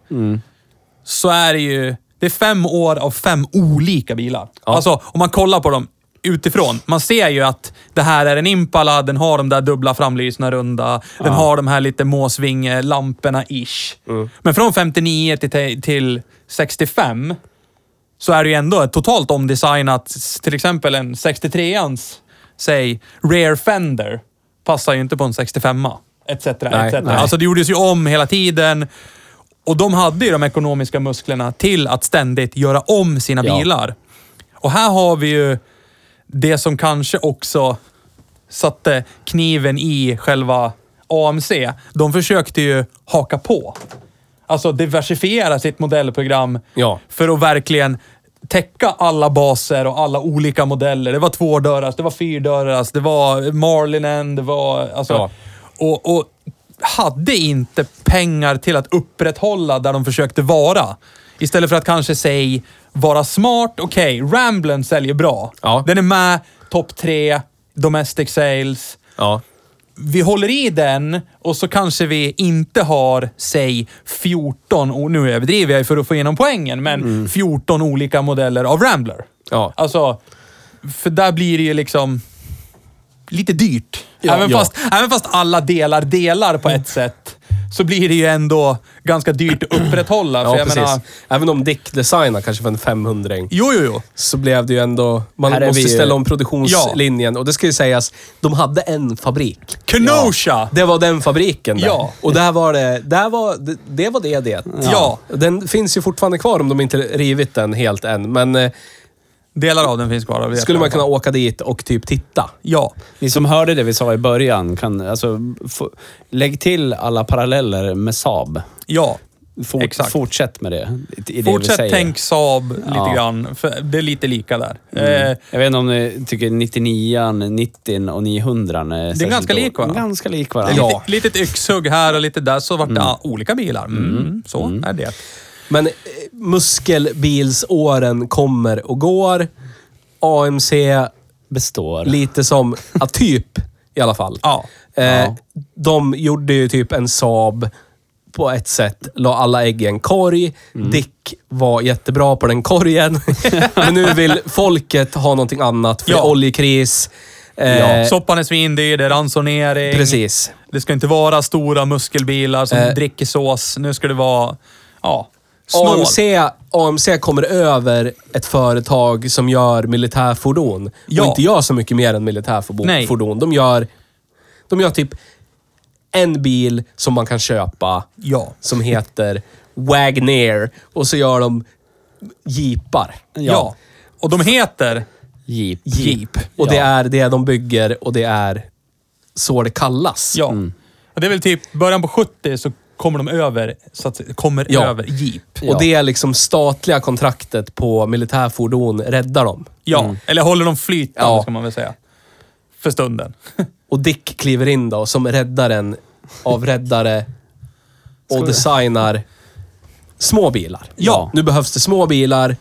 Speaker 1: så är det ju, det är fem år av fem olika bilar. Alltså, om man kollar på dem utifrån, man ser ju att det här är en Impala, den har de där dubbla framlysna runda, den har de här lite måsvingelamporna ish.
Speaker 3: Mm.
Speaker 1: Men från 59 till, till 65 så är det ju ändå ett totalt omdesignat, till exempel en 63ans säg, rear fender passar ju inte på en 65 etc.
Speaker 3: Nej,
Speaker 1: etc.
Speaker 3: nej.
Speaker 1: Alltså det gjordes ju om hela tiden. Och de hade ju de ekonomiska musklerna till att ständigt göra om sina
Speaker 3: Ja.
Speaker 1: bilar. Och här har vi ju det som kanske också satte kniven i själva AMC. De försökte ju haka på. Alltså diversifiera sitt modellprogram
Speaker 3: Ja.
Speaker 1: för att verkligen täcka alla baser och alla olika modeller. Det var tvådörrars, det var fyrdörrars, det var Marlinen, det var... Alltså,
Speaker 3: Ja.
Speaker 1: och, och hade inte pengar till att upprätthålla där de försökte vara. Istället för att kanske säg vara smart. Okej, Ramblen säljer bra.
Speaker 3: Ja.
Speaker 1: Den är med topp tre, domestic sales
Speaker 3: Ja.
Speaker 1: vi håller i den och så kanske vi inte har, säg 14, och nu överdriver jag ju för att få igenom poängen, men 14 olika modeller av Rambler.
Speaker 3: Mm. Ja.
Speaker 1: Alltså, för där blir det ju liksom lite dyrt.
Speaker 3: Ja,
Speaker 1: även,
Speaker 3: ja. Mm.
Speaker 1: Fast, även fast alla delar delar på ett sätt, så blir det ju ändå ganska dyrt att upprätthålla.
Speaker 3: Ja,
Speaker 1: för jag
Speaker 3: precis.
Speaker 1: menar,
Speaker 3: Även om Dick designar kanske för en 500
Speaker 1: jo, jo, jo.
Speaker 3: så blev det ju ändå... Man
Speaker 2: Här är
Speaker 3: måste
Speaker 2: vi ju-
Speaker 3: ställa om produktionslinjen. Och det ska ju sägas, de hade en fabrik.
Speaker 1: Kenosha!
Speaker 3: Det var den fabriken där.
Speaker 1: Ja.
Speaker 3: Och där var det, där var, det, det var det det.
Speaker 1: Ja.
Speaker 3: Den finns ju fortfarande kvar om de inte rivit den helt än. Men eh,
Speaker 1: Delar av den finns kvar. vet
Speaker 3: skulle
Speaker 1: jag.
Speaker 3: man kunna åka dit och typ titta?
Speaker 1: Ja.
Speaker 2: Ni som hörde det vi sa i början, kan, alltså, få, lägg till alla paralleller med Saab.
Speaker 1: Ja.
Speaker 2: Fort,
Speaker 1: Exakt.
Speaker 2: Fortsätt med det. I det vi
Speaker 1: Fortsätt
Speaker 2: säger.
Speaker 1: tänk Saab lite
Speaker 2: Ja.
Speaker 1: grann. För det är lite lika där. Eh,
Speaker 2: Jag vet inte om ni tycker 99 90 och 900 är Det
Speaker 1: ganska lik varandra.
Speaker 2: Ganska lik
Speaker 1: Det är
Speaker 2: varandra.
Speaker 1: Lite, litet yxhugg här och lite där, så vart det ah, olika bilar. Mm. Så är det.
Speaker 3: Men eh, muskelbilsåren kommer och går. AMC
Speaker 2: Består.
Speaker 3: Lite som, ja, typ i alla fall.
Speaker 1: Ja.
Speaker 3: Eh,
Speaker 2: Ja.
Speaker 3: De gjorde ju typ en Saab på ett sätt, la alla ägg i en korg.
Speaker 1: Mm.
Speaker 3: Dick var jättebra på den korgen. Men nu vill folket ha någonting annat, för
Speaker 1: Ja.
Speaker 3: det är oljekris. Eh,
Speaker 1: Ja. Soppan är svindyr, det är ransonering.
Speaker 3: Precis.
Speaker 1: Det ska inte vara stora muskelbilar som dricker sås. Nu ska det vara... Ja. Snål.
Speaker 3: AMC, AMC kommer över ett företag som gör militärfordon.
Speaker 1: Ja.
Speaker 3: Och inte gör så mycket mer än militärfordon.
Speaker 1: Nej.
Speaker 3: fordon. De gör, de gör typ en bil som man kan köpa
Speaker 1: Ja.
Speaker 3: som heter Wagner. Och så gör de jeepar.
Speaker 1: ja. Och de heter...
Speaker 2: Jeep.
Speaker 1: Jeep.
Speaker 3: Och det
Speaker 2: Ja.
Speaker 3: är det de bygger och det är så det kallas.
Speaker 1: Ja. Och det är väl typ början på 70 så kommer de över, så att, kommer
Speaker 3: Ja.
Speaker 1: över Jeep.
Speaker 3: Och det är liksom statliga kontraktet på militärfordon räddar dem.
Speaker 1: Ja, eller håller de flytande
Speaker 3: Mm. Ja.
Speaker 1: ska man väl säga. För stunden.
Speaker 3: Och Dick kliver in då som räddaren av räddare och
Speaker 2: vi-
Speaker 3: designar små bilar.
Speaker 1: Ja.
Speaker 3: Nu behövs det små bilar.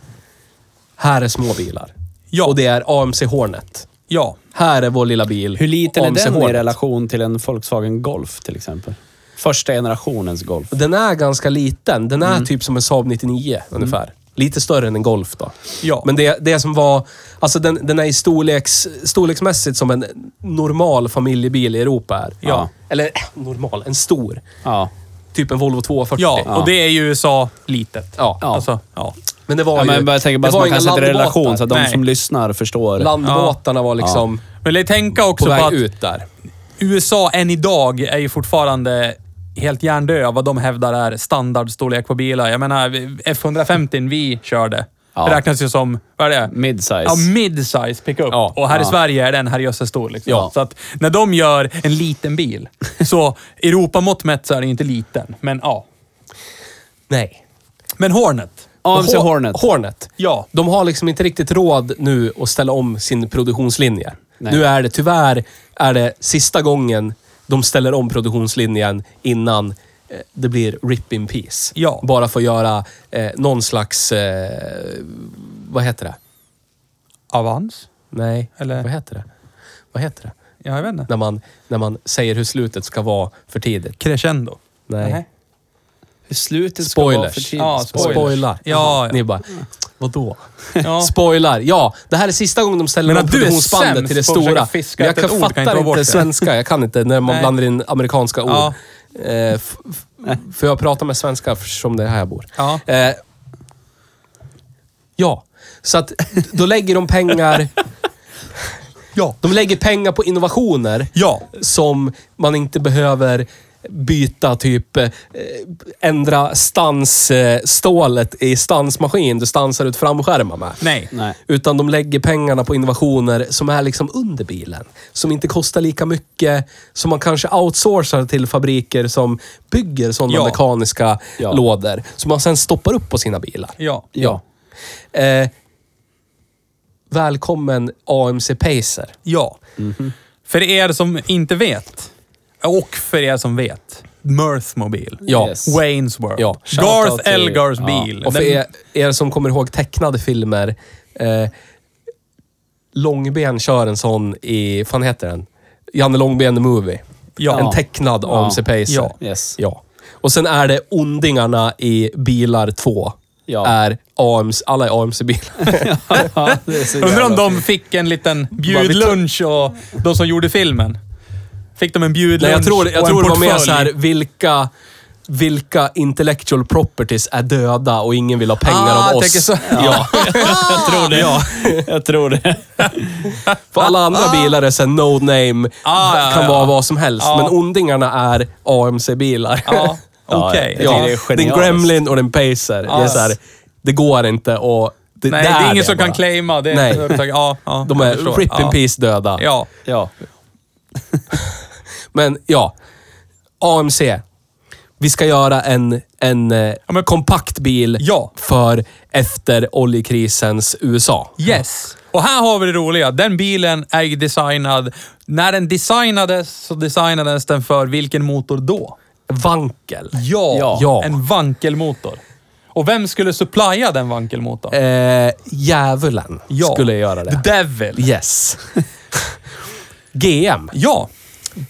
Speaker 3: Här är små bilar.
Speaker 1: Ja.
Speaker 3: Och det är AMC Hornet.
Speaker 1: Ja.
Speaker 3: Här är vår lilla bil.
Speaker 2: Hur liten är
Speaker 3: AMC
Speaker 2: den i
Speaker 3: Hornet.
Speaker 2: relation till en Volkswagen Golf till exempel? Första generationens Golf.
Speaker 3: Den är ganska liten. Den
Speaker 2: Mm.
Speaker 3: är typ som en Saab 99 ungefär. Lite större än en Golf då.
Speaker 1: Ja.
Speaker 3: Men det, det som var... Alltså den, den är i storleks, storleksmässigt som en normal familjebil i Europa är.
Speaker 2: Ja.
Speaker 3: Eller äh, normal, en stor.
Speaker 2: Ja.
Speaker 3: Typ en Volvo 240.
Speaker 1: Ja,
Speaker 2: Ja.
Speaker 1: och det är ju USA litet.
Speaker 3: Ja.
Speaker 1: Alltså, ja.
Speaker 3: Men det var
Speaker 2: ja
Speaker 3: ju...
Speaker 2: men jag bara tänker bara
Speaker 3: det
Speaker 2: så
Speaker 3: var
Speaker 2: man kan
Speaker 3: inga
Speaker 2: sätta det i
Speaker 3: landbåtar.
Speaker 2: relation så att de
Speaker 1: Nej.
Speaker 2: som lyssnar förstår.
Speaker 3: Landbåtarna var liksom
Speaker 1: Men lägg tänka också
Speaker 3: på
Speaker 1: på,
Speaker 3: väg
Speaker 1: att
Speaker 3: ut där.
Speaker 1: USA än idag är ju fortfarande helt hjärndö av vad de hävdar är standardstorlek på bilar. Jag menar, F150 vi körde
Speaker 2: Ja.
Speaker 1: räknas ju som, vad är det?
Speaker 2: Midsize.
Speaker 1: Ja, midsize pickup.
Speaker 3: Ja.
Speaker 1: Och här i
Speaker 2: Ja.
Speaker 1: Sverige är den herrejösses stor. Liksom.
Speaker 3: Ja.
Speaker 1: Så att när de gör en liten bil, så Europamått mätt så är den ju inte liten. Men ja.
Speaker 3: Nej.
Speaker 1: Men Hornet.
Speaker 2: AMC
Speaker 3: Hor-
Speaker 2: Hornet.
Speaker 3: Hornet.
Speaker 1: Ja.
Speaker 3: De har liksom inte riktigt råd nu att ställa om sin produktionslinje.
Speaker 2: Nej.
Speaker 3: Nu är det tyvärr är det sista gången de ställer om produktionslinjen innan eh, det blir rip in peace.
Speaker 1: Ja.
Speaker 3: Bara för att göra eh, någon slags... Eh, vad heter det?
Speaker 1: Avans?
Speaker 3: Nej,
Speaker 1: Eller-
Speaker 3: vad heter det? Vad heter det?
Speaker 1: Ja, jag vet inte.
Speaker 3: När man, när man säger hur slutet ska vara för tidigt.
Speaker 1: Crescendo?
Speaker 3: Nej.
Speaker 1: Nej.
Speaker 2: Hur slutet ska vara för
Speaker 3: Spoilers.
Speaker 2: tidigt.
Speaker 1: Ja,
Speaker 3: spoilar.
Speaker 1: spoilers. Ja,
Speaker 3: Ja, ja.
Speaker 1: ja. Mm.
Speaker 3: Ni bara, vadå?
Speaker 1: Ja.
Speaker 3: Spoilar. Ja, det här är sista gången de ställer
Speaker 1: Men
Speaker 3: om
Speaker 1: att du är
Speaker 3: produktionsbandet
Speaker 1: sämst
Speaker 3: till det
Speaker 1: på att
Speaker 3: stora.
Speaker 1: försöka fiska
Speaker 3: Men jag
Speaker 1: efter
Speaker 3: kan,
Speaker 1: ett ord kan
Speaker 3: fattar
Speaker 1: inte ta
Speaker 3: inte,
Speaker 1: bort det.
Speaker 3: svenska. Jag kan inte när man
Speaker 1: Nej.
Speaker 3: blandar in amerikanska ord.
Speaker 1: Ja.
Speaker 3: Eh, f- f- för jag pratar med svenska som det är här jag bor.
Speaker 1: Ja.
Speaker 3: Eh, ja. Så att då lägger de pengar...
Speaker 1: Ja.
Speaker 3: De lägger pengar på innovationer
Speaker 1: Ja.
Speaker 3: som man inte behöver byta typ eh, ändra stansstålet eh, stålet i stansmaskin du stansar ut framskärmar med.
Speaker 1: Nej.
Speaker 2: Nej.
Speaker 3: Utan de lägger pengarna på innovationer som är liksom under bilen. Som inte kostar lika mycket. Som man kanske outsourcar till fabriker som bygger sådana
Speaker 1: Ja.
Speaker 3: mekaniska
Speaker 2: Ja.
Speaker 3: lådor. Som man sen stoppar upp på sina bilar.
Speaker 1: Ja.
Speaker 3: Ja. Eh, välkommen AMC Pacer.
Speaker 1: Ja.
Speaker 3: Mhm.
Speaker 1: För er som inte vet, och för er som vet, Mirthmobile.
Speaker 3: Ja.
Speaker 2: Yes.
Speaker 1: Wayne's World.
Speaker 3: Ja.
Speaker 2: Shoutout
Speaker 1: Garth
Speaker 2: till-
Speaker 1: Elgars
Speaker 2: ja.
Speaker 1: bil.
Speaker 3: Och för
Speaker 1: Den-
Speaker 3: er, er som kommer ihåg tecknade filmer. Eh, Långben kör en sån i, fan heter den? Janne Långben The Movie.
Speaker 1: Ja.
Speaker 3: En tecknad
Speaker 2: Ja.
Speaker 3: AMC Pacer.
Speaker 1: Ja.
Speaker 2: Yes.
Speaker 3: Ja. Och sen är det Ondingarna i Bilar 2.
Speaker 2: Ja.
Speaker 3: Är AMC, alla är AMC-bilar.
Speaker 2: Ja, det är så
Speaker 1: Undrar om
Speaker 2: jävla-
Speaker 1: de fick en liten bjudlunch och de som gjorde filmen. Fick de en bjudlunch
Speaker 3: Nej, jag tror,
Speaker 1: och
Speaker 3: jag
Speaker 1: en
Speaker 3: tror det var mer
Speaker 1: portfölj?
Speaker 3: så här, vilka, vilka intellectual properties är döda och ingen vill ha pengar
Speaker 1: Ah,
Speaker 3: av
Speaker 1: jag
Speaker 3: oss.
Speaker 1: tänker så.
Speaker 3: Ja.
Speaker 2: Jag tror det. Ja. Jag tror det.
Speaker 3: För alla andra bilar är så här, no name,
Speaker 1: Ah, ja,
Speaker 3: kan
Speaker 1: ja.
Speaker 3: vara vad som helst.
Speaker 1: Ja.
Speaker 3: Men Ondingarna är AMC-bilar.
Speaker 1: Ja,
Speaker 2: Ja,
Speaker 1: okej.
Speaker 2: jag
Speaker 3: Ja,
Speaker 2: tycker det är
Speaker 3: den
Speaker 2: genialiskt.
Speaker 3: Gremlin och den Pacer. Det, är så här, det går inte och det,
Speaker 1: Nej, det är ingen som
Speaker 3: bara.
Speaker 1: kan claima. Det är
Speaker 3: Nej.
Speaker 1: Inte, ja, ja,
Speaker 3: De är
Speaker 1: jag förstår.
Speaker 3: rip in
Speaker 1: ja.
Speaker 3: peace döda.
Speaker 1: Ja.
Speaker 2: Ja.
Speaker 3: Men ja, AMC. Vi ska göra en, en eh,
Speaker 1: men-
Speaker 3: kompakt bil
Speaker 1: Ja.
Speaker 3: för efter oljekrisens USA.
Speaker 1: Yes. Och här har vi det roliga. Den bilen är ju designad... När den designades så designades den för vilken motor då?
Speaker 3: Vankel.
Speaker 1: Ja,
Speaker 3: Ja.
Speaker 1: en vankelmotor. Och vem skulle supplya den vankelmotorn?
Speaker 3: Eh, djävulen skulle göra det.
Speaker 1: The devil.
Speaker 3: Yes. GM.
Speaker 1: Ja.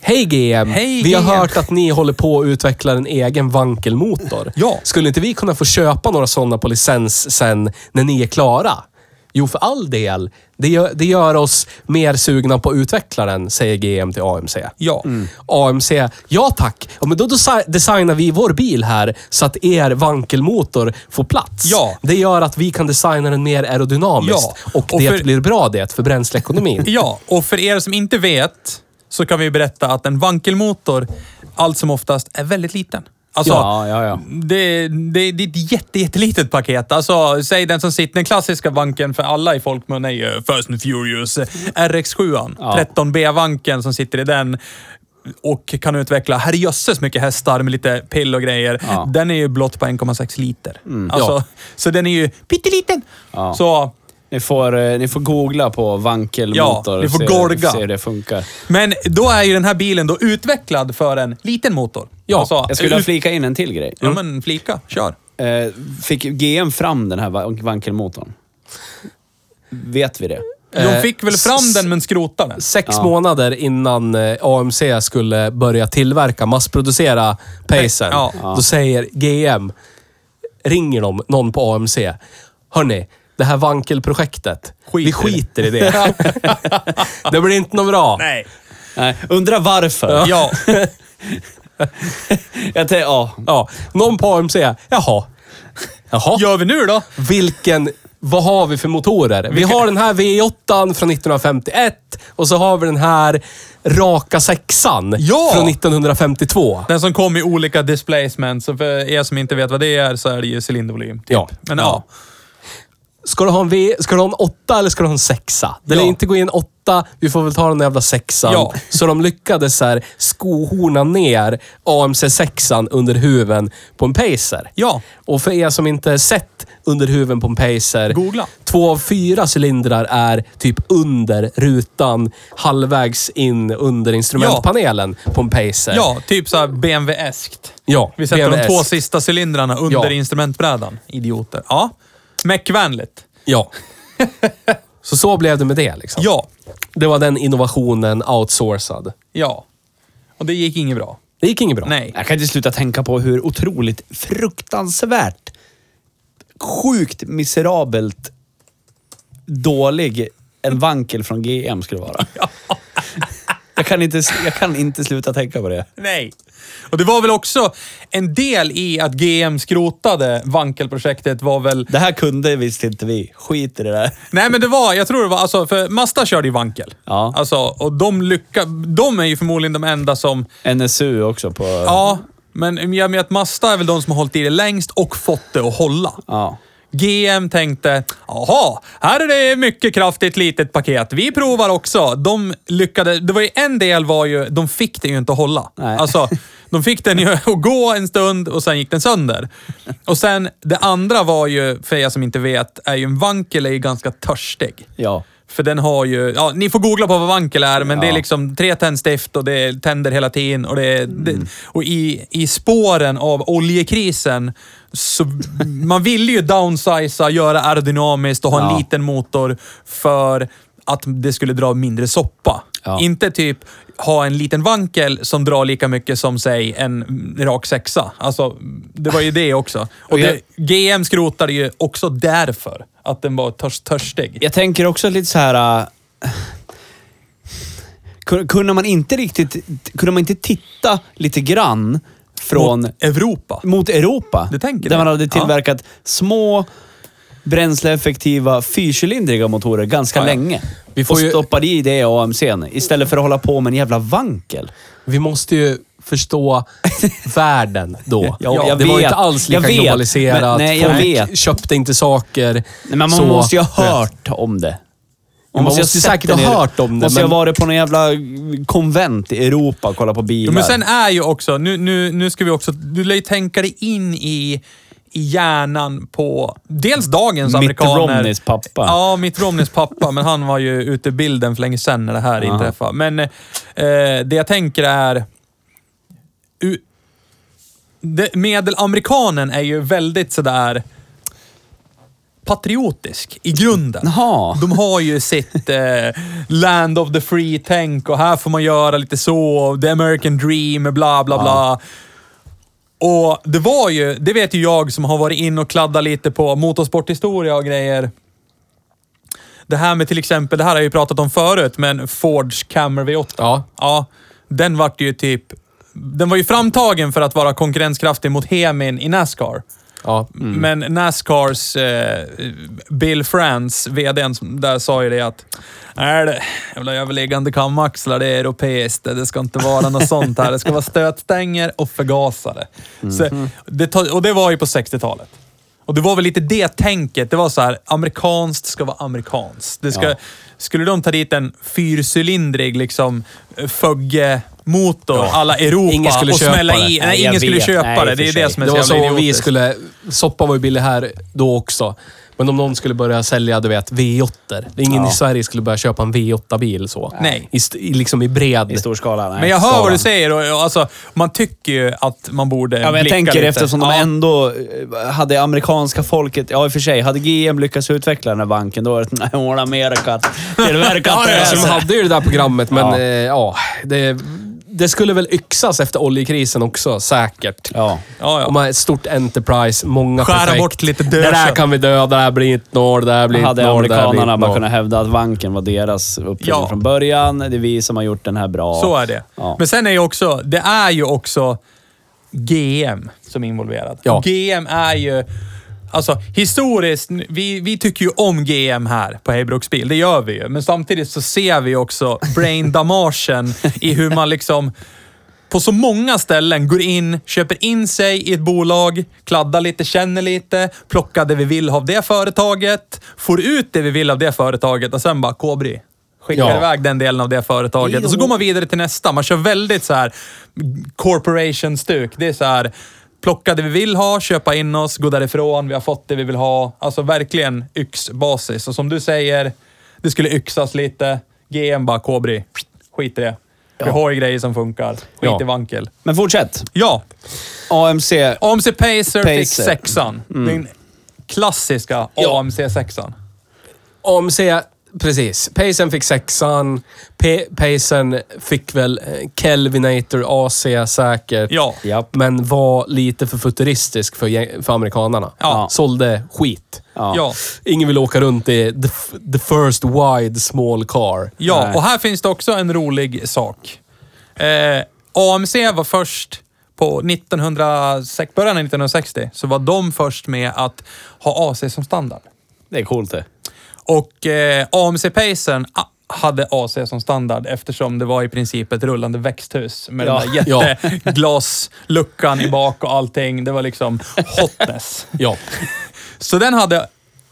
Speaker 3: Hej GM!
Speaker 1: Hej,
Speaker 3: vi har
Speaker 1: GM.
Speaker 3: hört att ni håller på att utveckla en egen vankelmotor.
Speaker 1: Ja.
Speaker 3: Skulle inte vi kunna få köpa några sådana på licens sen när ni är klara? Jo, för all del. Det gör, det gör oss mer sugna på att utveckla den, säger GM till AMC.
Speaker 1: Ja.
Speaker 3: AMC, ja tack. Ja, men då desi- designar vi vår bil här så att er vankelmotor får plats.
Speaker 1: Ja.
Speaker 3: Det gör att vi kan designa den mer aerodynamiskt
Speaker 1: Ja.
Speaker 3: och,
Speaker 1: Och
Speaker 3: det
Speaker 1: för-
Speaker 3: blir bra det för bränsleekonomin.
Speaker 1: Ja, och för er som inte vet så kan vi berätta att en vankelmotor allt som oftast är väldigt liten. Alltså,
Speaker 2: Ja, ja, ja.
Speaker 1: Det, det, det är ett jätte, jättelitet paket. Alltså, säg den som sitter, den klassiska vanken för alla i folkmun är ju Fast and Furious. eh, RX7,
Speaker 2: Ja.
Speaker 1: 13B-vanken som sitter i den och kan utveckla herrejösses mycket hästar med lite pill och grejer.
Speaker 2: Ja. Mm.
Speaker 1: Den är ju blott på 1,6 liter. alltså,
Speaker 3: Ja.
Speaker 1: Så den är ju pytteliten.
Speaker 2: Ja.
Speaker 1: Så
Speaker 2: Ni får, eh, ni får googla på vankelmotor
Speaker 1: Ja,
Speaker 2: och
Speaker 1: ni får
Speaker 2: se-
Speaker 1: gorga.
Speaker 2: se hur det funkar.
Speaker 1: Men då är ju den här bilen då utvecklad för en liten motor.
Speaker 3: Ja,
Speaker 2: Jag skulle
Speaker 1: ut-
Speaker 2: flika in en till grej.
Speaker 1: Ja, men flika. Kör.
Speaker 2: Eh, Fick GM fram den här van- vankelmotorn? Vet vi det?
Speaker 1: De fick väl
Speaker 3: s-
Speaker 1: fram
Speaker 3: s-
Speaker 1: den men skrotade den.
Speaker 3: Sex månader innan eh, AMC skulle börja tillverka, massproducera Pacern.
Speaker 1: Ja.
Speaker 3: Då säger GM, ringer de någon på AMC. Hörni, det här vankelprojektet.
Speaker 1: Skiter
Speaker 3: vi
Speaker 1: i
Speaker 3: skiter i det. det blir inte något bra.
Speaker 1: Nej.
Speaker 2: Nej, undrar varför?
Speaker 1: Ja.
Speaker 2: Jag tänkte, ja.
Speaker 3: Ja, någon på AMC, jaha. Jaha.
Speaker 1: Gör vi nu då?
Speaker 3: Vilken... Vad har vi för motorer? Vi har den här V8 från 1951 och så har vi den här raka sexan
Speaker 1: Ja!
Speaker 3: från 1952.
Speaker 1: Den som kom i olika displacements. Så för er som inte vet vad det är så är det ju cylindervolym. Typ.
Speaker 3: Ja.
Speaker 1: Men ja.
Speaker 3: Ska du ha en V, ska du ha en åtta eller ska du ha en sexa? Det lär
Speaker 1: Ja.
Speaker 3: inte gå in åtta, vi får väl ta den jävla sexan.
Speaker 1: Ja.
Speaker 3: Så de lyckades så här skohorna ner AMC sexan under huven på en Pacer.
Speaker 1: Ja.
Speaker 3: Och för er som inte sett under huven på en Pacer.
Speaker 1: Googla.
Speaker 3: Två av fyra cylindrar är typ under rutan, halvvägs in under instrumentpanelen på en Pacer.
Speaker 1: Ja, typ såhär BMW-eskt.
Speaker 3: ja
Speaker 1: Vi sätter de
Speaker 3: BMS.
Speaker 1: två sista cylindrarna under
Speaker 3: Ja.
Speaker 1: instrumentbrädan. Idioter. Ja. Mäckvänligt.
Speaker 3: Ja. Så så blev det med det liksom.
Speaker 1: Ja.
Speaker 3: Det var den innovationen outsourcad.
Speaker 1: Ja. Och det gick inget bra.
Speaker 3: Det gick inget bra.
Speaker 1: Nej.
Speaker 2: Jag kan inte sluta tänka på hur otroligt fruktansvärt sjukt miserabelt dålig en vankel från GM skulle vara. Jag kan, inte, jag kan inte sluta tänka på det.
Speaker 1: Nej. Och det var väl också en del i att GM skrotade vankelprojektet var väl...
Speaker 2: Det här kunde visst inte vi. Skit i det där.
Speaker 1: Nej, men det var, jag tror det var, alltså, för Mazda körde ju vankel.
Speaker 2: Ja.
Speaker 1: Alltså, och de lycka, de är ju förmodligen de enda som...
Speaker 2: NSU också på...
Speaker 1: Ja, men jag menar att Mazda är väl de som har hållit i det längst och fått det att hålla.
Speaker 2: Ja.
Speaker 1: GM tänkte, jaha, här är det mycket kraftigt litet paket. Vi provar också. De lyckades, det var ju en del var ju, de fick det ju inte att hålla.
Speaker 2: Nej.
Speaker 1: Alltså, de fick den ju att gå en stund och sen gick den sönder. Och sen, det andra var ju, för er som inte vet, är ju en vankel är ju ganska törstig.
Speaker 2: Ja.
Speaker 1: För den har ju, ja ni får googla på vad vankel är, men det är liksom tre tändstift och det är tänder hela tiden. Och, det är,
Speaker 2: Mm.
Speaker 1: det, och i, i spåren av oljekrisen, så man ville ju downsiza, göra aerodynamiskt och ha en
Speaker 2: Ja.
Speaker 1: liten motor för att det skulle dra mindre soppa.
Speaker 2: Ja.
Speaker 1: Inte typ ha en liten vankel som drar lika mycket som säg en rak sexa. Alltså, det var ju det också. Och
Speaker 2: jag-
Speaker 1: det, GM skrotade ju också därför. Att den var törs, törstig.
Speaker 2: Jag tänker också lite så här... äh, kun- Kunde man inte riktigt... Kunde man inte titta lite grann från... Mot,
Speaker 1: Mot Europa.
Speaker 2: Europa?
Speaker 1: Du tänker
Speaker 2: där
Speaker 1: det?
Speaker 2: man hade
Speaker 1: Ja.
Speaker 2: tillverkat små bränsleeffektiva fyrcylindriga motorer ganska
Speaker 1: Ja, ja.
Speaker 2: länge.
Speaker 3: Vi får
Speaker 2: och
Speaker 3: ju-
Speaker 2: stoppade i det i AMC'n istället för att hålla på med en jävla vankel.
Speaker 3: Vi måste ju förstå världen då.
Speaker 2: Ja, jag
Speaker 3: det var ju
Speaker 2: vet.
Speaker 3: inte alls lika
Speaker 2: Jag vet.
Speaker 3: globaliserat.
Speaker 2: Men- nej, jag
Speaker 3: Folk
Speaker 2: vet.
Speaker 3: köpte inte saker.
Speaker 2: Nej, men man
Speaker 3: så-
Speaker 2: måste ju ha hört om det.
Speaker 3: Man måste
Speaker 2: ju ha
Speaker 3: ju
Speaker 2: sett
Speaker 3: säkert
Speaker 2: den
Speaker 3: ha
Speaker 2: i-
Speaker 3: hört om det,
Speaker 2: Måste
Speaker 3: men-
Speaker 2: ju ha varit på någon jävla konvent i Europa och kolla på bilar.
Speaker 1: Jo, men sen är ju också, nu, nu, nu ska vi också, du lär ju tänka dig in i, i hjärnan på dels dagens
Speaker 2: Mitt
Speaker 1: amerikaner.
Speaker 2: Romneys pappa.
Speaker 1: Ja, Mitt Romneys pappa, men han var ju ute i bilden för länge sedan när det här
Speaker 2: Ja.
Speaker 1: inträffade. Men eh, det jag tänker är, u- det, medelamerikanen är ju väldigt sådär patriotisk i grunden.
Speaker 2: Jaha.
Speaker 1: De har ju sitt eh, land of the free-tänk och här får man göra lite så, och the American dream, och bla bla bla. Och det var ju, det vet ju jag som har varit in och kladdat lite på motorsporthistoria och grejer. Det här med till exempel, det här har jag ju pratat om förut, men Fords Camry V8.
Speaker 3: Ja.
Speaker 1: Ja, den vart ju typ... Den var ju framtagen för att vara konkurrenskraftig mot Hemin i Nascar.
Speaker 3: Ja.
Speaker 1: Men Nascars eh, Bill France, vdn som- där, sa ju det att är det jävla överliggande kamaxlar, det är europeiskt, det ska inte vara något sånt här. Det ska vara stötstänger och förgasare.
Speaker 3: Mhm.
Speaker 1: Så, det, ta- och det var ju på 60-talet. Och det var väl lite det tänket. Det var så här, amerikanskt ska vara amerikanskt. Det ska,
Speaker 2: Ja.
Speaker 1: Skulle de ta dit en fyrcylindrig liksom, Fögge-motor, alla Europa,
Speaker 3: Ingen skulle
Speaker 1: och
Speaker 3: köpa
Speaker 1: smälla
Speaker 3: det.
Speaker 1: i... Nej,
Speaker 2: Nej,
Speaker 1: ingen
Speaker 2: jag
Speaker 1: skulle
Speaker 2: vet.
Speaker 1: köpa
Speaker 2: Nej,
Speaker 1: det.
Speaker 2: i
Speaker 1: Det är
Speaker 2: och för
Speaker 1: det
Speaker 2: sig.
Speaker 1: som är
Speaker 3: Det
Speaker 1: så
Speaker 3: var
Speaker 1: jävla
Speaker 3: som om vi
Speaker 1: idiotiskt.
Speaker 3: skulle... Soppan var ju billig här då också. Men om någon skulle börja sälja, du vet, V8. Det är ingen
Speaker 2: Ja.
Speaker 3: i Sverige skulle börja köpa en V8-bil så.
Speaker 1: Nej.
Speaker 3: I, st- i, liksom i bred...
Speaker 2: I stor skala. Nej,
Speaker 1: Men jag hör
Speaker 2: skalan.
Speaker 1: vad du säger och, och alltså, man tycker ju att man borde
Speaker 2: Ja, men jag
Speaker 1: blicka
Speaker 2: tänker
Speaker 1: lite.
Speaker 2: eftersom de
Speaker 1: Ja.
Speaker 2: ändå eh, hade amerikanska folket... Ja, i och för sig. Hade GM lyckats utveckla den här banken, då var det nej, hon Amerika tillverkat
Speaker 3: Ja,
Speaker 2: det.
Speaker 3: ja,
Speaker 2: här."
Speaker 3: som hade ju det där programmet, men
Speaker 2: Ja.
Speaker 3: ja. Eh, ja det, det skulle väl yxas efter oljekrisen också, säkert.
Speaker 2: Ja.
Speaker 1: Ja, ja.
Speaker 3: Om man är ett stort enterprise, många
Speaker 1: Skära
Speaker 3: projekt.
Speaker 1: bort lite
Speaker 3: Det där
Speaker 1: dödkött.
Speaker 3: kan vi döda, det här blir inte norr, det här blir inte
Speaker 2: Hade
Speaker 3: norr, det här blir
Speaker 2: amerikanarna
Speaker 3: inte
Speaker 2: bara
Speaker 3: norr.
Speaker 2: kunnat hävda att vanken var deras uppfinning
Speaker 1: Ja.
Speaker 2: från början. Det är vi som har gjort den här bra.
Speaker 1: Så är det.
Speaker 2: Ja.
Speaker 1: Men sen är ju också, det är ju också GM som är involverad.
Speaker 3: Ja.
Speaker 1: GM är ju, alltså historiskt, vi, vi tycker ju om GM här på Hej Bruksbil. Det gör vi ju. Men samtidigt så ser vi också brain damagen i hur man liksom på så många ställen går in, köper in sig i ett bolag, kladdar lite, känner lite, plockar det vi vill av det företaget, får ut det vi vill av det företaget och sen bara kobri. Skickar
Speaker 3: Ja.
Speaker 1: iväg den delen av det företaget och så går man vidare till nästa. Man kör väldigt så här corporation-stuk. Det är så här, plocka det vi vill ha, köpa in oss, gå därifrån, vi har fått det vi vill ha. Alltså verkligen yxbasis. Och som du säger, det skulle yxas lite. GM bara, kobri, skit i det. Vi har ju grejer som funkar. Skit
Speaker 3: Ja.
Speaker 1: i vankel.
Speaker 2: Men fortsätt.
Speaker 1: Ja,
Speaker 2: AMC.
Speaker 1: AMC Pacer, fick
Speaker 2: Pacer.
Speaker 1: sexan. Den klassiska
Speaker 3: Ja.
Speaker 1: AMC sexan.
Speaker 3: AMC Precis. Payson fick sexan. P- Payson fick väl eh, Kelvinator AC säkert.
Speaker 1: Ja.
Speaker 2: Japp.
Speaker 3: Men var lite för futuristisk för, gäng- för amerikanarna.
Speaker 1: Ja.
Speaker 3: Sålde skit.
Speaker 2: Ja.
Speaker 1: Ja.
Speaker 3: Ingen vill åka runt i the, f- the first wide small car.
Speaker 1: Ja,
Speaker 2: Nej.
Speaker 1: och här finns det också en rolig sak. Eh, AMC var först på 1906, början av 1960, så var de först med att ha AC som standard.
Speaker 2: Det är coolt det.
Speaker 1: Och eh, AMC Pacern ah, hade AC som standard eftersom det var i princip ett rullande växthus med
Speaker 2: Ja.
Speaker 1: den där jätteglasluckan i bak och allting. Det var liksom hotness.
Speaker 3: Ja.
Speaker 1: Så den hade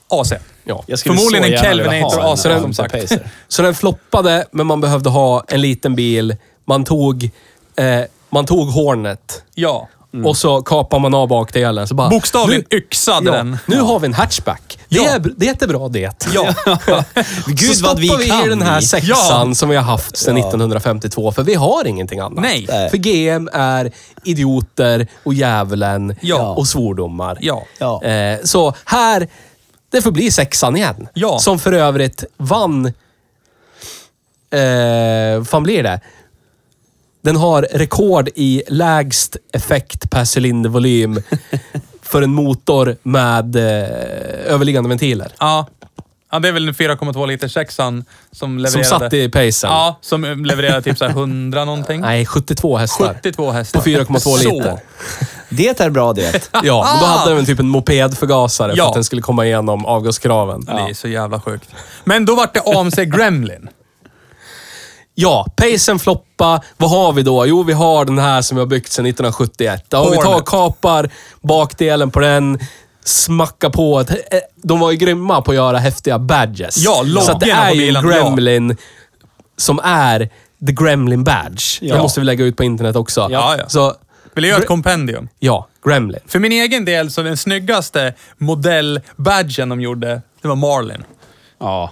Speaker 1: AC.
Speaker 3: ja.
Speaker 2: Jag skulle
Speaker 1: Förmodligen
Speaker 2: så
Speaker 1: en
Speaker 2: gärna vilja
Speaker 1: Kelvinator
Speaker 2: ha en
Speaker 1: AC, som
Speaker 2: Amazon
Speaker 1: sagt.
Speaker 2: Pacer.
Speaker 3: Så den floppade, men man behövde ha en liten bil. Man tog, eh, man tog Hornet
Speaker 1: Ja.
Speaker 3: och så kapar man av bakdelen. Så bara,
Speaker 1: Mm. Bokstavligen
Speaker 3: nu,
Speaker 1: yxade
Speaker 3: ja,
Speaker 1: den.
Speaker 3: Nu har vi en hatchback. Det,
Speaker 1: Ja.
Speaker 3: är, det är bra det.
Speaker 1: Ja.
Speaker 3: så
Speaker 2: Gud
Speaker 3: stoppar
Speaker 2: vad vi kan.
Speaker 3: i den här
Speaker 2: i.
Speaker 3: sexan som vi har haft sedan
Speaker 2: Ja.
Speaker 3: 1952, för vi har ingenting annat.
Speaker 1: Nej.
Speaker 2: Nej.
Speaker 3: För GM är idioter och djävulen
Speaker 1: Ja.
Speaker 3: och svordomar.
Speaker 1: Ja.
Speaker 2: Ja.
Speaker 3: Eh, så här, det får bli sexan igen.
Speaker 1: Ja.
Speaker 3: Som för övrigt vann... Eh, vad fan blir det? Den har rekord i lägst effekt per cylindervolym för en motor med eh, överliggande ventiler.
Speaker 1: Ja. ja, det är väl den 4,2 liter sexan som
Speaker 3: Som
Speaker 1: levererade.
Speaker 3: satt i pacen.
Speaker 1: Ja, som levererade typ så här 100 någonting.
Speaker 3: Nej, 72 hästar.
Speaker 1: 72 hästar.
Speaker 3: På 4,2
Speaker 1: Så.
Speaker 3: liter.
Speaker 2: Det är bra det.
Speaker 3: Ja, men då hade den typ en mopedförgasare för
Speaker 1: Ja.
Speaker 3: att den skulle komma igenom avgaskraven.
Speaker 1: Det är så jävla sjukt. Men då vart det AMC Gremlin.
Speaker 3: Ja, pacen floppa. Vad har vi då? Jo, vi har den här som vi har byggt sedan 1971. Ja, vi tar
Speaker 1: Hornet.
Speaker 3: och kapar bakdelen på den. Smacka på. Ett, eh, de var ju grymma på att göra häftiga badges.
Speaker 1: Ja,
Speaker 3: Så att det
Speaker 1: loggorna
Speaker 3: är
Speaker 1: på
Speaker 3: ju
Speaker 1: bilen,
Speaker 3: Gremlin som är the Gremlin badge. Det
Speaker 2: Ja.
Speaker 3: måste vi lägga ut på internet också.
Speaker 1: Ja, ja.
Speaker 3: Så,
Speaker 1: Vill jag göra ett kompendium?
Speaker 3: ja, Gremlin.
Speaker 1: För min egen del så den snyggaste modellbadgen de gjorde, det var Marlin.
Speaker 2: Ja.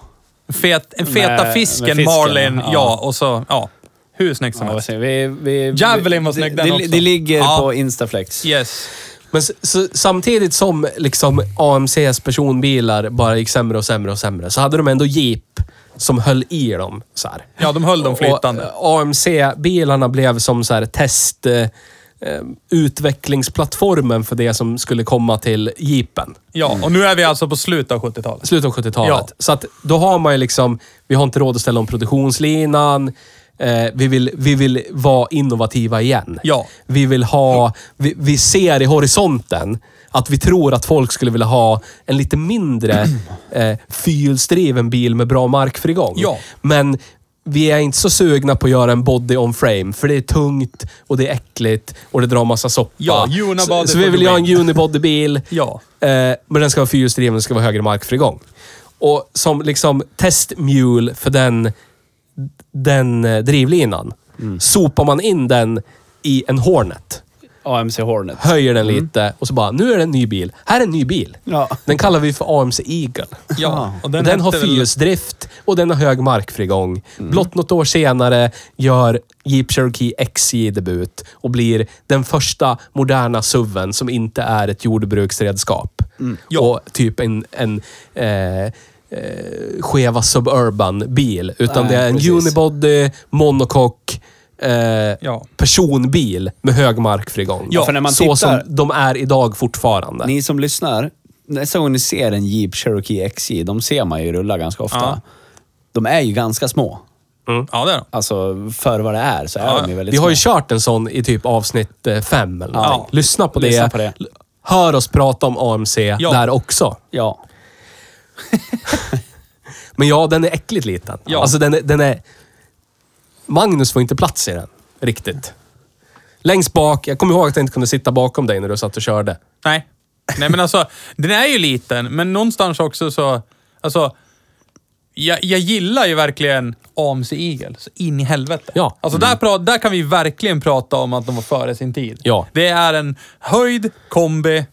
Speaker 1: Fet, en feta
Speaker 2: Med-
Speaker 1: fisken,
Speaker 2: med fisken,
Speaker 1: Marlin, ja.
Speaker 2: ja.
Speaker 1: och så, ja. Hur snyggt som
Speaker 2: ja vad
Speaker 1: helst.
Speaker 2: säger vi, vi,
Speaker 1: Javelin var
Speaker 2: det-
Speaker 1: snygg den
Speaker 2: det,
Speaker 1: också.
Speaker 2: Det ligger
Speaker 1: Ja.
Speaker 2: på Instaflex.
Speaker 1: Yes.
Speaker 3: Men s- så, samtidigt som liksom AMCs personbilar bara gick sämre och sämre och sämre, så hade de ändå Jeep som höll i dem. Så här.
Speaker 1: Ja, de höll dem flytande.
Speaker 3: Och, eh, AMC-bilarna blev som så här test... Eh, eh, utvecklingsplattformen för det som skulle komma till Jeepen.
Speaker 1: Ja, och nu är vi alltså på slutet av 70-talet.
Speaker 3: Slutet av 70-talet.
Speaker 1: Ja.
Speaker 3: Så att då har man ju liksom, vi har inte råd att ställa om produktionslinan. Eh, vi, vill, vi vill vara innovativa igen.
Speaker 1: Ja.
Speaker 3: Vi vill ha, vi, vi ser i horisonten att vi tror att folk skulle vilja ha en lite mindre eh, fyrhjulsdriven bil med bra markfrigång.
Speaker 1: Ja.
Speaker 3: Men vi är inte så sugna på att göra en body on frame, för det är tungt och det är äckligt och det drar massa soppa.
Speaker 1: Ja, unibody
Speaker 3: så, så vi vill göra en
Speaker 1: for the
Speaker 3: unibodybil.
Speaker 1: Ja.
Speaker 3: Eh, men den ska vara fyrhjulsdriven, den ska vara högre markfrigång. Och som liksom testmule för den, den eh, drivlinan, sopar man in den i en Hornet.
Speaker 2: AMC Hornet.
Speaker 3: Höjer den lite och så bara, nu är det en ny bil. Här är en ny bil.
Speaker 2: Mm. Ja.
Speaker 3: Den kallar vi för AMC Eagle.
Speaker 1: Ja, och
Speaker 3: Den,
Speaker 1: den,
Speaker 3: har
Speaker 1: hette väl- Mm.
Speaker 3: fyrhjulsdrift och den har hög markfrigång. Blott något år senare gör Jeep Cherokee XJ debut och blir den första moderna SUVen som inte är ett jordbruksredskap.
Speaker 1: Ja.
Speaker 3: Och typ en, en eh, eh, skeva suburban-bil. Utan
Speaker 2: Nej,
Speaker 3: det är en
Speaker 2: precis.
Speaker 3: unibody, monocoque, eh,
Speaker 1: Ja.
Speaker 3: personbil med hög markfrigång.
Speaker 2: Ja, för när man
Speaker 3: så
Speaker 2: tittar-
Speaker 3: som de är idag fortfarande.
Speaker 2: Ni som lyssnar, nästa gång ni ser en Jeep Cherokee XJ, de ser man ju rulla ganska ofta.
Speaker 1: Ja.
Speaker 2: De är ju ganska små.
Speaker 3: Mm.
Speaker 1: Ja, det är de.
Speaker 2: Alltså, för vad det är så är
Speaker 1: Ja,
Speaker 2: de ju väldigt
Speaker 3: Vi
Speaker 2: små.
Speaker 3: har ju kört en sån i typ avsnitt eh, fem eller
Speaker 2: Ja.
Speaker 3: någonting. Lyssna, på det.
Speaker 2: Lyssna på det.
Speaker 3: L- Hör oss prata om AMC
Speaker 1: Ja.
Speaker 3: där också.
Speaker 2: Ja.
Speaker 3: Men ja, den är äckligt liten.
Speaker 1: Ja.
Speaker 3: Alltså den är, den är... Magnus får inte plats i den. Riktigt. Längst bak. Jag kommer ihåg att jag inte kunde sitta bakom dig när du satt och körde.
Speaker 1: Nej. Nej, men alltså, den är ju liten, men någonstans också så... Alltså, jag, jag gillar ju verkligen AMC Eagle, så in i helvete.
Speaker 3: Ja.
Speaker 1: Alltså, där, pra, där kan vi verkligen prata om att de var före sin tid.
Speaker 3: Ja.
Speaker 1: Det är en höjd kombi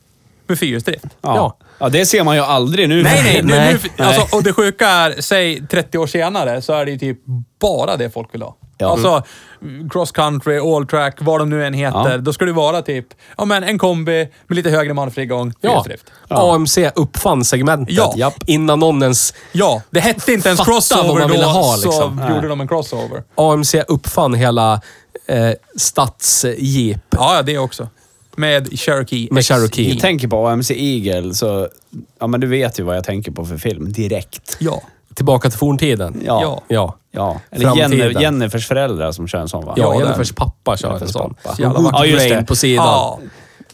Speaker 1: med fyrhjulsdrift.
Speaker 3: Ja.
Speaker 2: Ja. ja, det ser man ju aldrig nu.
Speaker 1: Nej, alltså, nej, nej.
Speaker 3: Nej.
Speaker 1: Nu, nu, alltså, och det sjuka är, säg 30 år senare, så är det ju typ bara det folk vill ha.
Speaker 2: Ja.
Speaker 1: Alltså cross country, all track, vad de nu än heter.
Speaker 2: Ja.
Speaker 1: Då ska det vara typ ja, men en kombi med lite högre manfrigång,
Speaker 3: Ja.
Speaker 1: fyrhjulsdrift.
Speaker 3: AMC uppfann segmentet
Speaker 1: Ja.
Speaker 2: Japp.
Speaker 3: innan någon ens...
Speaker 1: Ja, det hette inte ens
Speaker 3: Fatta vad
Speaker 1: crossover
Speaker 3: man
Speaker 1: då,
Speaker 3: ville ha,
Speaker 1: så
Speaker 3: liksom.
Speaker 1: gjorde de en crossover.
Speaker 3: AMC uppfann hela eh, stadsjeep.
Speaker 1: Ja, ja, det också. Med Cherokee.
Speaker 3: Med
Speaker 1: XJ.
Speaker 3: Cherokee.
Speaker 2: Jag tänker på AMC Eagle, så... Ja, men du vet ju vad jag tänker på för film direkt.
Speaker 1: Ja.
Speaker 3: Tillbaka till forntiden.
Speaker 2: Ja.
Speaker 1: Ja.
Speaker 2: ja.
Speaker 3: Ja.
Speaker 2: Eller
Speaker 3: Framtiden.
Speaker 2: Jennifer, Jennifers föräldrar som kör en sån, va?
Speaker 3: Ja,
Speaker 1: den.
Speaker 3: Jennifers pappa kör en
Speaker 2: Jennifers
Speaker 3: sån.
Speaker 2: pappa.
Speaker 1: Så jävla vackert.
Speaker 3: Ja,
Speaker 2: Ja, just det.
Speaker 3: på sidan.
Speaker 1: Ja.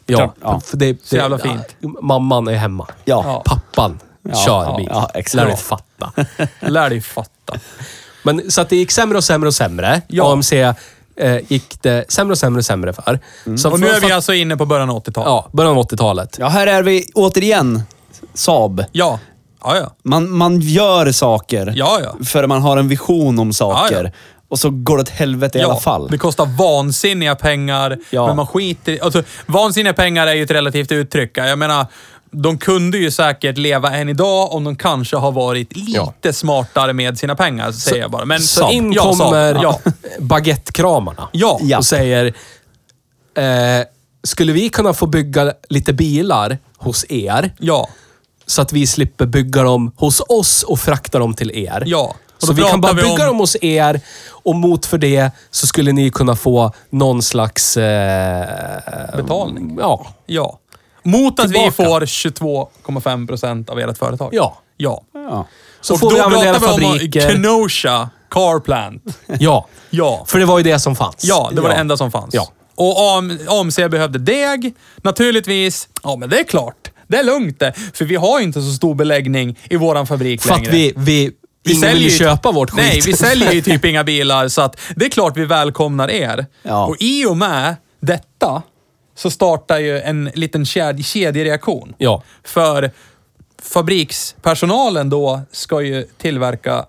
Speaker 3: Ja,
Speaker 2: Klart, ja.
Speaker 3: För det, det,
Speaker 1: Så jävla fint.
Speaker 3: Mamman är hemma.
Speaker 1: Ja.
Speaker 3: Pappan
Speaker 2: ja,
Speaker 3: kör bil.
Speaker 2: ja, exakt.
Speaker 3: Lär dig fatta.
Speaker 1: Lär dig fatta.
Speaker 3: Men, så att det gick sämre och sämre och sämre.
Speaker 1: Ja.
Speaker 3: AMC eh, gick det sämre och sämre Mm. och sämre för. Så
Speaker 1: Och nu
Speaker 3: för-
Speaker 1: är vi
Speaker 3: för-
Speaker 1: alltså inne på början av 80-talet.
Speaker 3: Ja, början av 80-talet.
Speaker 2: Ja, här är vi återigen. Saab.
Speaker 1: Ja. Ja, ja.
Speaker 2: Man, man gör saker
Speaker 1: Ja, ja.
Speaker 2: för man har en vision om saker.
Speaker 1: Ja, ja.
Speaker 2: Och så går det åt helvete i
Speaker 1: ja,
Speaker 2: alla fall.
Speaker 1: Det kostar vansinniga pengar,
Speaker 2: Ja.
Speaker 1: men man skiter i- alltså, Vansinniga pengar är ju ett relativt uttryck. Jag menar, de kunde ju säkert leva än idag om de kanske har varit lite smartare med sina pengar, säger jag bara. Men,
Speaker 3: Så in
Speaker 1: ja, Saab.
Speaker 3: kommer
Speaker 1: Ja.
Speaker 3: baguettekramarna
Speaker 1: Ja.
Speaker 2: Ja.
Speaker 3: och säger eh, Skulle vi kunna få bygga lite bilar hos er
Speaker 1: ja.
Speaker 3: så att vi slipper bygga dem hos oss och frakta dem till er?
Speaker 1: Ja. Och då
Speaker 3: Så vi kan bara
Speaker 1: pratar vi
Speaker 3: bygga
Speaker 1: om-
Speaker 3: dem hos er och mot för det så skulle ni kunna få någon slags... Eh,
Speaker 1: Betalning.
Speaker 3: Ja.
Speaker 1: Ja. Mot att vi
Speaker 3: Tillbaka.
Speaker 1: får 22,5 procent av ert företag.
Speaker 3: Ja.
Speaker 1: Ja.
Speaker 2: Ja.
Speaker 3: Så får vi använda era
Speaker 1: pratar vi om
Speaker 3: fabriker.
Speaker 1: Kenosha Car Plant.
Speaker 3: Ja.
Speaker 1: Ja.
Speaker 3: För det var ju det som fanns.
Speaker 1: Ja, det var
Speaker 2: Ja.
Speaker 1: det enda som fanns.
Speaker 3: Ja.
Speaker 1: Och AM, AMC behövde deg. Naturligtvis, ja men det är klart. Det är lugnt det. För vi har ju inte så stor beläggning i våran fabrik
Speaker 3: För att
Speaker 1: längre.
Speaker 3: vi... vi
Speaker 1: Vi
Speaker 3: Ingen vill ju
Speaker 1: ju-
Speaker 3: köpa vårt skit.
Speaker 1: Nej, vi säljer ju typ inga bilar, så att det är klart vi välkomnar er.
Speaker 2: Ja.
Speaker 1: Och i och med detta så startar ju en liten ked kedjereaktion.
Speaker 3: Ja.
Speaker 1: För fabrikspersonalen då ska ju tillverka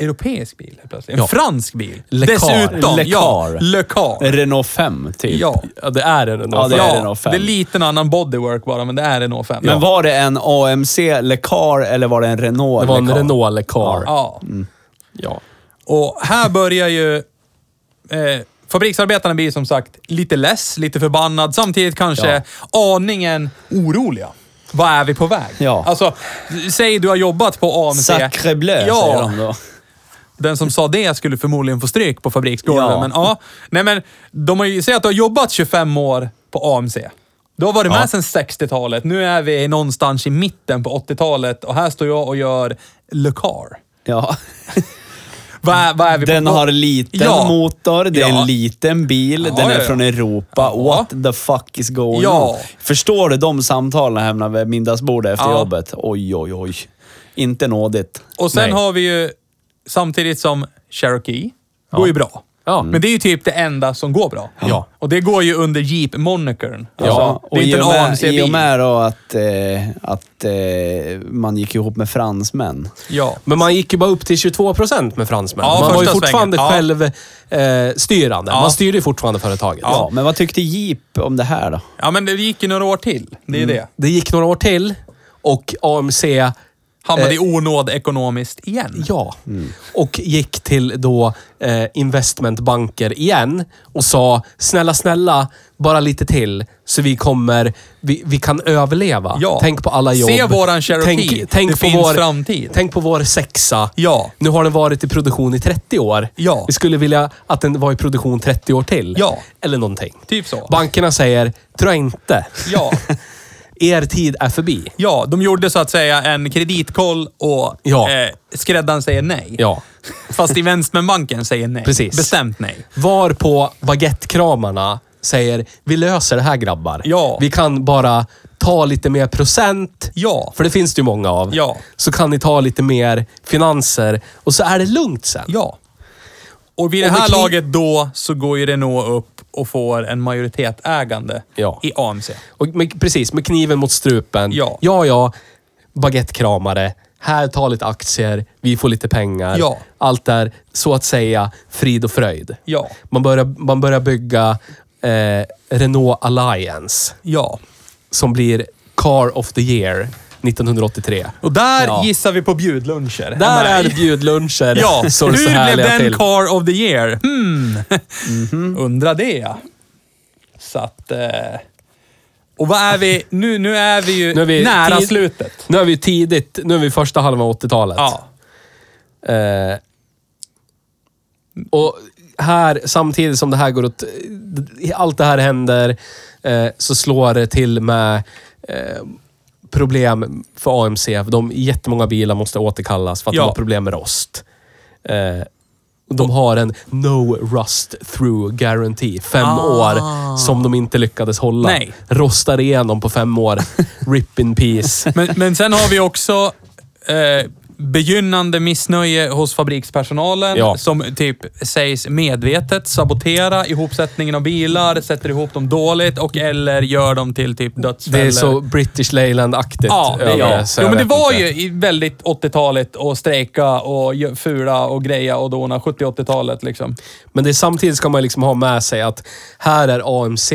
Speaker 1: europeisk bil helt plötsligt. En
Speaker 3: Ja.
Speaker 1: fransk bil.
Speaker 3: Le Car.
Speaker 1: Dessutom.
Speaker 2: Le
Speaker 1: Ja,
Speaker 2: Car.
Speaker 1: Le Car.
Speaker 2: Renault 5, typ.
Speaker 1: Ja.
Speaker 3: Ja, det är en
Speaker 2: Ja, det är
Speaker 1: ja,
Speaker 2: en 05.
Speaker 1: det är lite en annan bodywork bara, men det är en 05.
Speaker 2: Men var det en AMC Lecar eller var det en Renault
Speaker 3: Det var en
Speaker 2: Le Car?
Speaker 3: Renault Le Car.
Speaker 1: Ja.
Speaker 2: Mm.
Speaker 3: Ja.
Speaker 1: Och här börjar ju... Eh, fabriksarbetarna blir som sagt lite less, lite förbannad, samtidigt kanske aningen oroliga. Vad är vi på väg?
Speaker 2: Ja.
Speaker 1: Alltså, säg du har jobbat på AMC.
Speaker 2: Sacre bleu,
Speaker 1: ja,
Speaker 2: säger de då.
Speaker 1: Den som sa det skulle förmodligen få stryk på fabriksgolvet.
Speaker 2: Ja.
Speaker 1: Men ja, nej men de har ju, säg att du har jobbat 25 år på AMC. Du har varit med sedan 60-talet. Nu är vi någonstans i mitten på 80-talet och här står jag och gör Le Car.
Speaker 2: Ja.
Speaker 1: Vad är, vad är vi
Speaker 2: Den
Speaker 1: på?
Speaker 2: har liten
Speaker 1: Ja.
Speaker 2: motor, det är
Speaker 1: Ja.
Speaker 2: en liten bil,
Speaker 1: Ja,
Speaker 2: den
Speaker 1: ja,
Speaker 2: är
Speaker 1: ja.
Speaker 2: från Europa. What the fuck is going
Speaker 1: Ja.
Speaker 2: on? Förstår du de samtalen hemma vid middagsbordet efter
Speaker 1: Ja.
Speaker 2: jobbet? Oj, oj, oj. Inte nådigt.
Speaker 1: Och sen
Speaker 3: Nej.
Speaker 1: har vi ju, samtidigt som Cherokee, går ju bra.
Speaker 3: Ja.
Speaker 1: Men det är ju typ det enda som går bra.
Speaker 3: Ja.
Speaker 1: Och det går ju under Jeep-monikern.
Speaker 2: Ja,
Speaker 1: Alltså, det
Speaker 2: och
Speaker 1: är
Speaker 2: i
Speaker 1: inte
Speaker 2: och,
Speaker 1: en
Speaker 2: med, i och
Speaker 1: AMC-bil.
Speaker 2: med då att, eh, att eh, man gick ihop med fransmän.
Speaker 1: Ja.
Speaker 3: Men man gick ju bara upp till 22 procent med fransmän.
Speaker 1: Ja,
Speaker 3: man var ju
Speaker 1: första
Speaker 3: fortfarande
Speaker 1: svängen.
Speaker 3: självstyrande. Eh, styrande.
Speaker 1: Ja.
Speaker 3: Man styrde ju fortfarande företaget.
Speaker 2: Ja. men vad tyckte Jeep om det här då?
Speaker 1: ja, men det gick ju några år till. Det
Speaker 2: Mm.
Speaker 1: är det.
Speaker 3: Det gick några år till och AMC,
Speaker 1: Hamnade i onåd ekonomiskt igen.
Speaker 3: Eh, ja, och gick till då eh, investmentbanker igen och sa snälla, snälla, bara lite till så vi kommer, vi, vi kan överleva.
Speaker 1: Ja.
Speaker 3: Tänk på alla jobb.
Speaker 1: Se våran Cherokee.
Speaker 3: Tänk, tänk
Speaker 1: Det
Speaker 3: på
Speaker 1: finns
Speaker 3: vår,
Speaker 1: framtid.
Speaker 3: Tänk på vår sexa.
Speaker 1: Ja.
Speaker 3: Nu har den varit i produktion i 30 år.
Speaker 1: Ja.
Speaker 3: Vi skulle vilja att den var i produktion 30 år till.
Speaker 1: Ja.
Speaker 3: Eller någonting.
Speaker 1: Typ så.
Speaker 3: Bankerna säger, tror jag inte.
Speaker 1: Ja.
Speaker 3: Er tid är förbi.
Speaker 1: ja, de gjorde så att säga en kreditkoll och
Speaker 3: Ja.
Speaker 1: eh, skräddaren säger nej.
Speaker 3: Ja.
Speaker 1: Fast investmentbanken säger nej.
Speaker 3: Precis.
Speaker 1: Bestämt nej.
Speaker 3: Var på baguettekramarna säger, vi löser det här grabbar.
Speaker 1: Ja.
Speaker 3: Vi kan bara ta lite mer procent.
Speaker 1: Ja.
Speaker 3: För det finns det ju många av.
Speaker 1: Ja.
Speaker 3: Så kan ni ta lite mer finanser och så är det lugnt sen.
Speaker 1: Ja. Och vid
Speaker 3: Och
Speaker 1: det här
Speaker 3: med krig-
Speaker 1: laget då så går ju Renault upp och får en majoritetsägande
Speaker 3: Ja.
Speaker 1: i AMC.
Speaker 3: Och med, precis, med kniven mot strupen.
Speaker 1: Ja.
Speaker 3: ja, ja. Baguettekramare. Här, ta lite aktier. Vi får lite pengar.
Speaker 1: Ja.
Speaker 3: Allt är så att säga frid och fröjd.
Speaker 1: Ja.
Speaker 3: Man börjar, man börjar bygga eh, Renault Alliance
Speaker 1: Ja.
Speaker 3: som blir Car of the Year 1983.
Speaker 1: Och där
Speaker 3: Ja.
Speaker 1: gissar vi på bjudluncher.
Speaker 3: Där
Speaker 1: Nej.
Speaker 3: är det bjudluncher.
Speaker 1: Ja,
Speaker 3: som är så
Speaker 1: hur blev
Speaker 3: härliga
Speaker 1: den
Speaker 3: till. Mm.
Speaker 1: Car of the Year? Hmm. Undra det. ja. Så att... Eh. Och vad är vi? Nu, nu är vi ju
Speaker 3: Nu är vi
Speaker 1: nära
Speaker 3: tid-
Speaker 1: slutet.
Speaker 3: Nu är vi tidigt, nu är vi första halvan av 80-talet.
Speaker 1: Ja.
Speaker 3: Eh, och här, samtidigt som det här går åt... Allt det här händer eh, så slår det till med eh, problem för AMC. De, jättemånga bilar måste återkallas för att
Speaker 1: Ja.
Speaker 3: de har problem med rost. Eh, och de har en no rust through guarantee. Fem år som de inte lyckades hålla.
Speaker 1: Ah. Nej.
Speaker 3: Rostar igenom på fem år. Rip in peace.
Speaker 1: Men, men sen har vi också eh, begynnande missnöje hos fabrikspersonalen
Speaker 3: Ja.
Speaker 1: som typ sägs medvetet sabotera ihopsättningen av bilar, sätter ihop dem dåligt och eller gör dem till typ dödsfällor.
Speaker 3: Det är så British Leyland-aktigt.
Speaker 1: Ja, det,
Speaker 3: över
Speaker 1: ja.
Speaker 3: så
Speaker 1: Jo,
Speaker 3: jag
Speaker 1: men det
Speaker 3: vet
Speaker 1: var
Speaker 3: inte.
Speaker 1: ju i väldigt 80-talet och strejka och gö- fula och greja och dåna. 70-80-talet liksom.
Speaker 3: Men det, samtidigt ska man liksom ha med sig att här är AMC,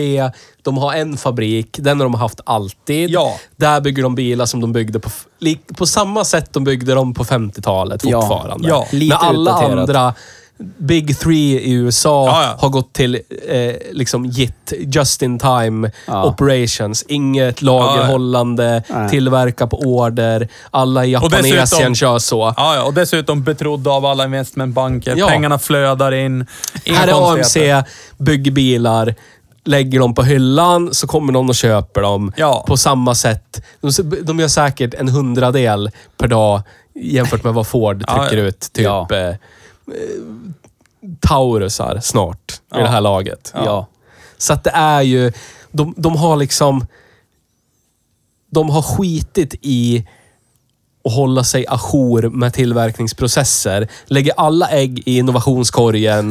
Speaker 3: de har en fabrik, den har de haft alltid.
Speaker 1: Ja.
Speaker 3: Där bygger de bilar som de byggde på, f- lik- på samma sätt de byggde dem på 50-talet
Speaker 2: Ja.
Speaker 3: fortfarande.
Speaker 1: Ja,
Speaker 2: lite
Speaker 3: När alla
Speaker 2: utdaterat.
Speaker 3: andra Big Three i USA
Speaker 1: Ja, ja.
Speaker 3: har gått till eh, liksom JIT, Just In Time
Speaker 2: Ja.
Speaker 3: Operations. Inget lagerhållande,
Speaker 2: Nej.
Speaker 3: tillverka på order. Alla i Japan och
Speaker 1: dessutom-
Speaker 3: Asien kör så.
Speaker 1: Ja, ja, och dessutom betrodda av alla investmentbanker.
Speaker 3: Ja.
Speaker 1: Pengarna flödar in. Inga
Speaker 3: Här är
Speaker 1: konstigheter.
Speaker 3: AMC, bygger bilar, lägger dem på hyllan, så kommer någon och köper dem.
Speaker 1: Ja.
Speaker 3: På samma sätt. De, de gör säkert en hundradel per dag jämfört med vad Ford
Speaker 1: Ja,
Speaker 3: trycker
Speaker 1: ja.
Speaker 3: ut. Typ
Speaker 2: Ja.
Speaker 3: eh, eh, Taurusar snart i det här laget.
Speaker 2: Ja.
Speaker 3: Så att det är ju... De, de har liksom... De har skitit i att hålla sig ajour med tillverkningsprocesser. Lägger alla ägg i innovationskorgen.